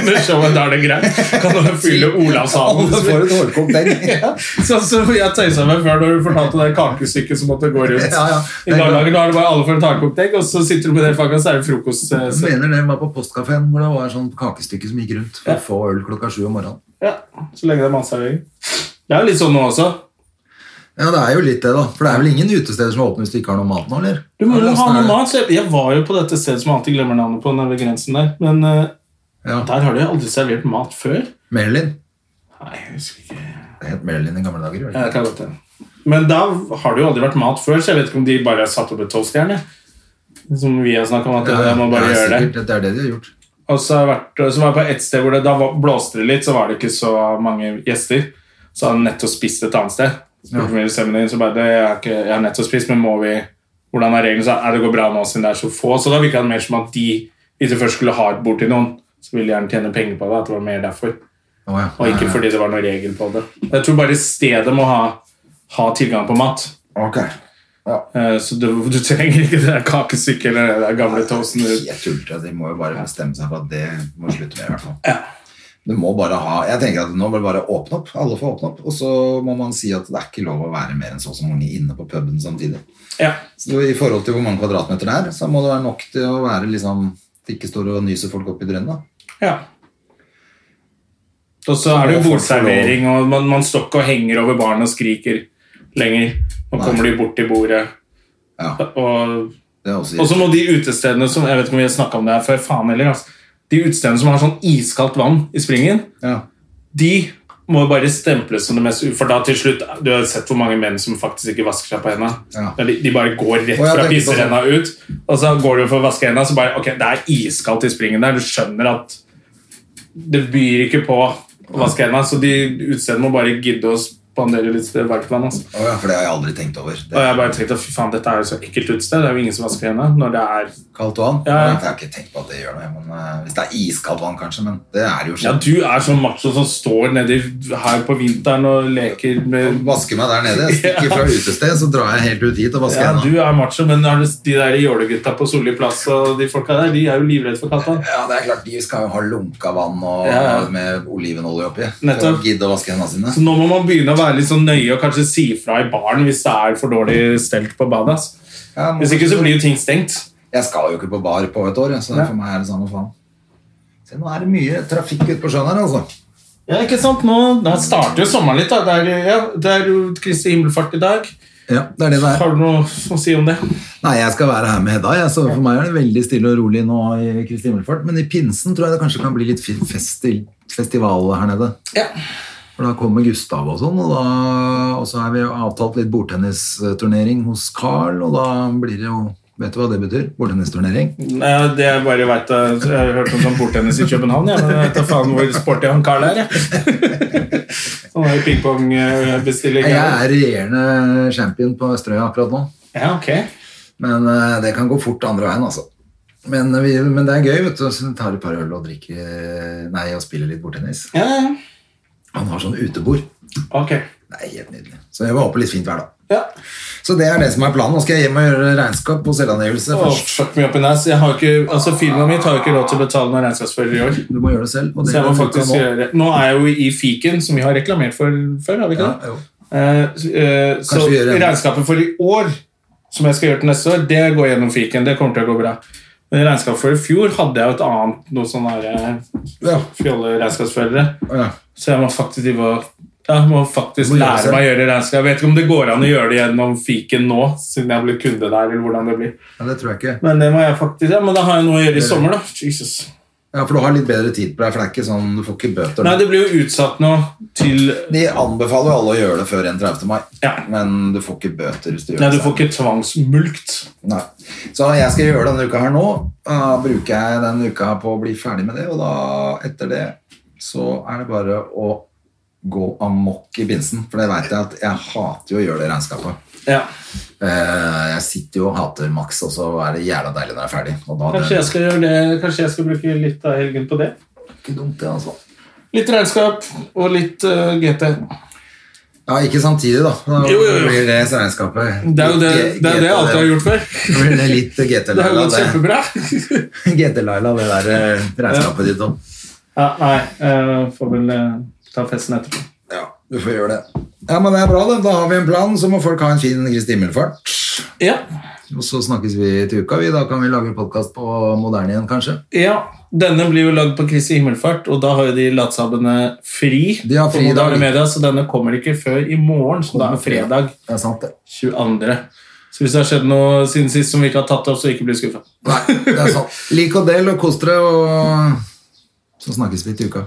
A: Under showet, da er det greit. Kan du fylle Olavshallen?
B: Alle får et hårkokt egg. ja,
A: Sånn som jeg tøysa meg før når du fortalte det kakestykket som måtte gå rundt.
B: ja.
A: I barnehagen da er det bare alle får en takekokt egg, og så sitter du med det faget, og så er det frokost. eh,
B: Jeg
A: så-
B: mener det var på postkafeen hvor det var sånn kakestykke som gikk rundt for å få øl klokka sju om morgenen.
A: Ja, så lenge det er matservering. Det er jo litt sånn nå også.
B: Ja, det er jo litt det, da. For det er vel ingen utesteder som er åpne hvis du ikke har noe mat nå, eller?
A: Du må jo
B: Eller
A: ha
B: hvordan er
A: noe
B: det?
A: mat. så Jeg jeg var jo på dette stedet som jeg alltid glemmer navnet på, nede ved grensen der. Men eh,
B: Ja.
A: der har de aldri servert mat før.
B: Merlin.
A: Nei, jeg husker ikke.
B: Det het Merlin i gamle dager. gjorde det
A: Ja,
B: ikke?
A: det kan godt hende. Men da har det jo aldri vært mat før, så jeg vet ikke om de bare har satt opp et toastjern. jeg. Som vi har snakket om, at
B: Ja,
A: jeg må bare
B: ja,
A: gjøre det.
B: sikkert. det. er det de har gjort.
A: Og så, har jeg vært, så var jeg på et sted hvor det da var- blåste det litt, så var det ikke så mange gjester. Så hadde jeg nettopp spist et annet sted. Spurte
B: Ja.
A: meg i stemmen din, så bare, det, jeg, har ikke, jeg har nettopp spist, men må vi hvordan er reglene, så er det går bra nå siden det er så få. Så da virka det mer som at de, hvis de først skulle ha et bord til noen, så ville de gjerne tjene penger på det. At det var mer derfor.
B: Å, ja.
A: Og ikke fordi det var noen regel på det. Jeg tror bare stedet må ha, ha tilgang på mat.
B: Ok.
A: Eh, Så du, du trenger ikke det der kakestykket eller det der gamle toasten.
B: Helt tullete. De må jo bare bestemme seg for at det må slutte med, i hvert fall. Du må bare ha Jeg tenker at nå må du bare åpne opp. Alle får åpne opp. Og så må man si at det er ikke lov å være mer enn så og så mange inne på puben samtidig.
A: Ja.
B: Så I forhold til hvor mange kvadratmeter det er, så må det være nok til å være liksom at det ikke står og nyser folk opp i drønna.
A: ja. Og så er det jo
B: må folk få
A: bordservering, og man, man står ikke og henger over baren og skriker lenger. Nå kommer de bort til bordet.
B: Ja,
A: Og
B: det er også
A: Og så må de utestedene som Jeg vet ikke om vi har snakket om det her før, faen heller. Altså. De utestedene som har sånn iskaldt vann i springen,
B: ja.
A: de må jo bare stemples som det mest u- For da til slutt Du har sett hvor mange menn som faktisk ikke vasker seg på hendene.
B: Ja.
A: Der De, de bare går rett
B: Å, jeg
A: fra
B: tenkte på
A: pisserenna ut, og så går du for å vaske hendene, så bare Ok, det er iskaldt i springen der. Du skjønner at det byr ikke på å vaske hendene, så de utestedene må bare gidde å spandere litt verktøy. Altså.
B: Å ja, for det har jeg aldri tenkt over. Det
A: Og
B: er
A: jeg bare tenkte fy faen, dette er jo så ekkelt utested. Det er jo ingen som vasker hendene når det er
B: kaldt vann.
A: Ja, ja.
B: Jeg har ikke tenkt på at det gjør noe. Men, eh, hvis det er iskaldt vann, kanskje, men det er det jo
A: Ja,
B: sjelden.
A: du er sånn macho som står nedi her på vinteren og leker med
B: Vasker meg der nede. Jeg stikker fra utested, så drar jeg helt ut hit og vasker
A: ja,
B: hendene.
A: Du er macho, men har du- de der jålegutta på Solli plass og de folka der, de er jo livredde for katta.
B: Ja, det er klart, De skal jo ha lunka vann og,
A: Ja, ja.
B: med olivenolje oppi.
A: Nettopp.
B: For å gidde å vaske hendene sine.
A: Så nå må man begynne å være litt sånn nøye og kanskje si fra i baren hvis det er for dårlig stelt på badet. ass.
B: Ja, men-
A: Hvis ikke så blir jo ting stengt.
B: Jeg skal jo ikke på bar på et år, jeg, så
A: Ja.
B: for meg er det samme faen. Se, nå er det mye trafikk ute på sjøen her, altså.
A: Ja, ikke sant? Nå, nå starter jo sommeren litt. da. Det er, ja, det er jo Kristi himmelfart i dag.
B: Ja, det er det det er.
A: Har du noe å si om det?
B: Nei, jeg skal være her med Hedda, jeg, så for meg er det veldig stille og rolig nå i Kristi himmelfart. Men i pinsen tror jeg det kanskje kan bli litt fi- festi festival her nede.
A: Ja.
B: For da kommer Gustav og sånn, og, da, og så har vi jo avtalt litt bordtennisturnering hos Carl, og da blir det jo Vet du hva det betyr? Bordtennisturnering.
A: Nei, Det jeg bare vet, jeg har hørt om sånn bordtennis i København, jeg, men jeg vet da faen hvor sporty han Carl er. jeg. Sånn er pingpongbestilling.
B: Jeg er regjerende champion på Østerøya akkurat nå.
A: Ja, ok.
B: Men eh, det kan gå fort andre veien, altså. Men, eh, vi, men det er gøy, vet du. Så tar et par øl og drikker eh, Nei, og spiller litt bordtennis.
A: Ja, ja, ja.
B: Han har sånn utebord.
A: ok.
B: Det er helt nydelig. Så jeg håper litt fint vær, da.
A: Ja.
B: Så det er det som er planen. Nå skal jeg hjem og gjøre regnskap og selvangivelse
A: Åh,
B: først.
A: fuck me up in ass. Jeg har ikke, altså Firmaet mitt har jo ikke råd til å betale noen regnskapsfører i år.
B: Du må gjøre det selv. Og
A: Så
B: det
A: jeg må
B: kan du
A: faktisk
B: nå.
A: gjøre Nå er jeg jo i fiken, som vi har reklamert for før, har vi ikke
B: Ja,
A: det?
B: jo.
A: Eh, eh, så
B: Kanskje vi gjør det.
A: regnskapet for i år, som jeg skal gjøre til neste år, det går gjennom fiken. Det kommer til å gå bra. Men regnskapet for i fjor hadde jeg jo et annet noe sånn her eh,
B: Ja.
A: fjolleregnskapsførere.
B: Ja.
A: Så jeg må faktisk, drive og- ja, jeg må faktisk
B: Du må gjøre det
A: lære
B: selv.
A: meg å gjøre regnskap. Jeg vet ikke om det går an å gjøre det gjennom fiken nå, siden jeg blir kunde der. eller hvordan det blir.
B: ja, det tror jeg ikke.
A: Men det må jeg faktisk, ja, men da har jeg noe å gjøre i sommer, da. Jesus.
B: Ja, For du har litt bedre tid på deg, for det er ikke sånn, du får ikke bøter.
A: Nei, det blir jo utsatt nå til
B: De anbefaler jo alle å gjøre det før 31. mai,
A: Ja.
B: men du får ikke bøter hvis du gjør
A: Nei,
B: det
A: du får ikke tvangsmulkt.
B: Nei. Så jeg skal gjøre denne uka her nå. Da bruker jeg denne uka på å bli ferdig med det, og da etter det så er det bare å gå amok i binsen. For det veit jeg at jeg hater jo å gjøre det regnskapet.
A: Ja.
B: Eh, Jeg sitter jo og hater maks, og så er det jævla deilig når jeg er ferdig. Og da
A: Kanskje jeg skal gjøre det, kanskje jeg skal bruke litt av helgen på det.
B: ikke dumt, det, altså.
A: Litt regnskap og litt eh, GT.
B: Ja, ikke samtidig, da. Da
A: Jo, jo, jo.
B: blir det regnskapet.
A: Det er jo det, det, er det jeg alltid har gjort før.
B: Da blir det litt
A: Det har
B: GT-Laila,
A: gått
B: det,
A: kjempebra.
B: GT Laila, det der eh, regnskapet ditt òg.
A: Ja, nei, eh, får vel eh, ta festen etterpå.
B: Ja, du får gjøre det. Ja, men det er bra, det. Da har vi en plan, så må folk ha en fin Kristi himmelfart.
A: Ja.
B: Og så snakkes vi til uka, vi. Da kan vi lage podkast på moderne igjen, kanskje.
A: Ja, denne blir jo lagd på Kristi himmelfart, og da har jo de latsabbene fri.
B: De har
A: på
B: fri i dag.
A: Moderne Media, så denne kommer ikke før i morgen, som da er fredag
B: Det er sant, det.
A: 22. Så hvis det har skjedd noe siden sist som vi ikke har tatt opp, så ikke bli skuffa.
B: Nei, det er sant. Lik og del og kos dere, og så snakkes vi til uka.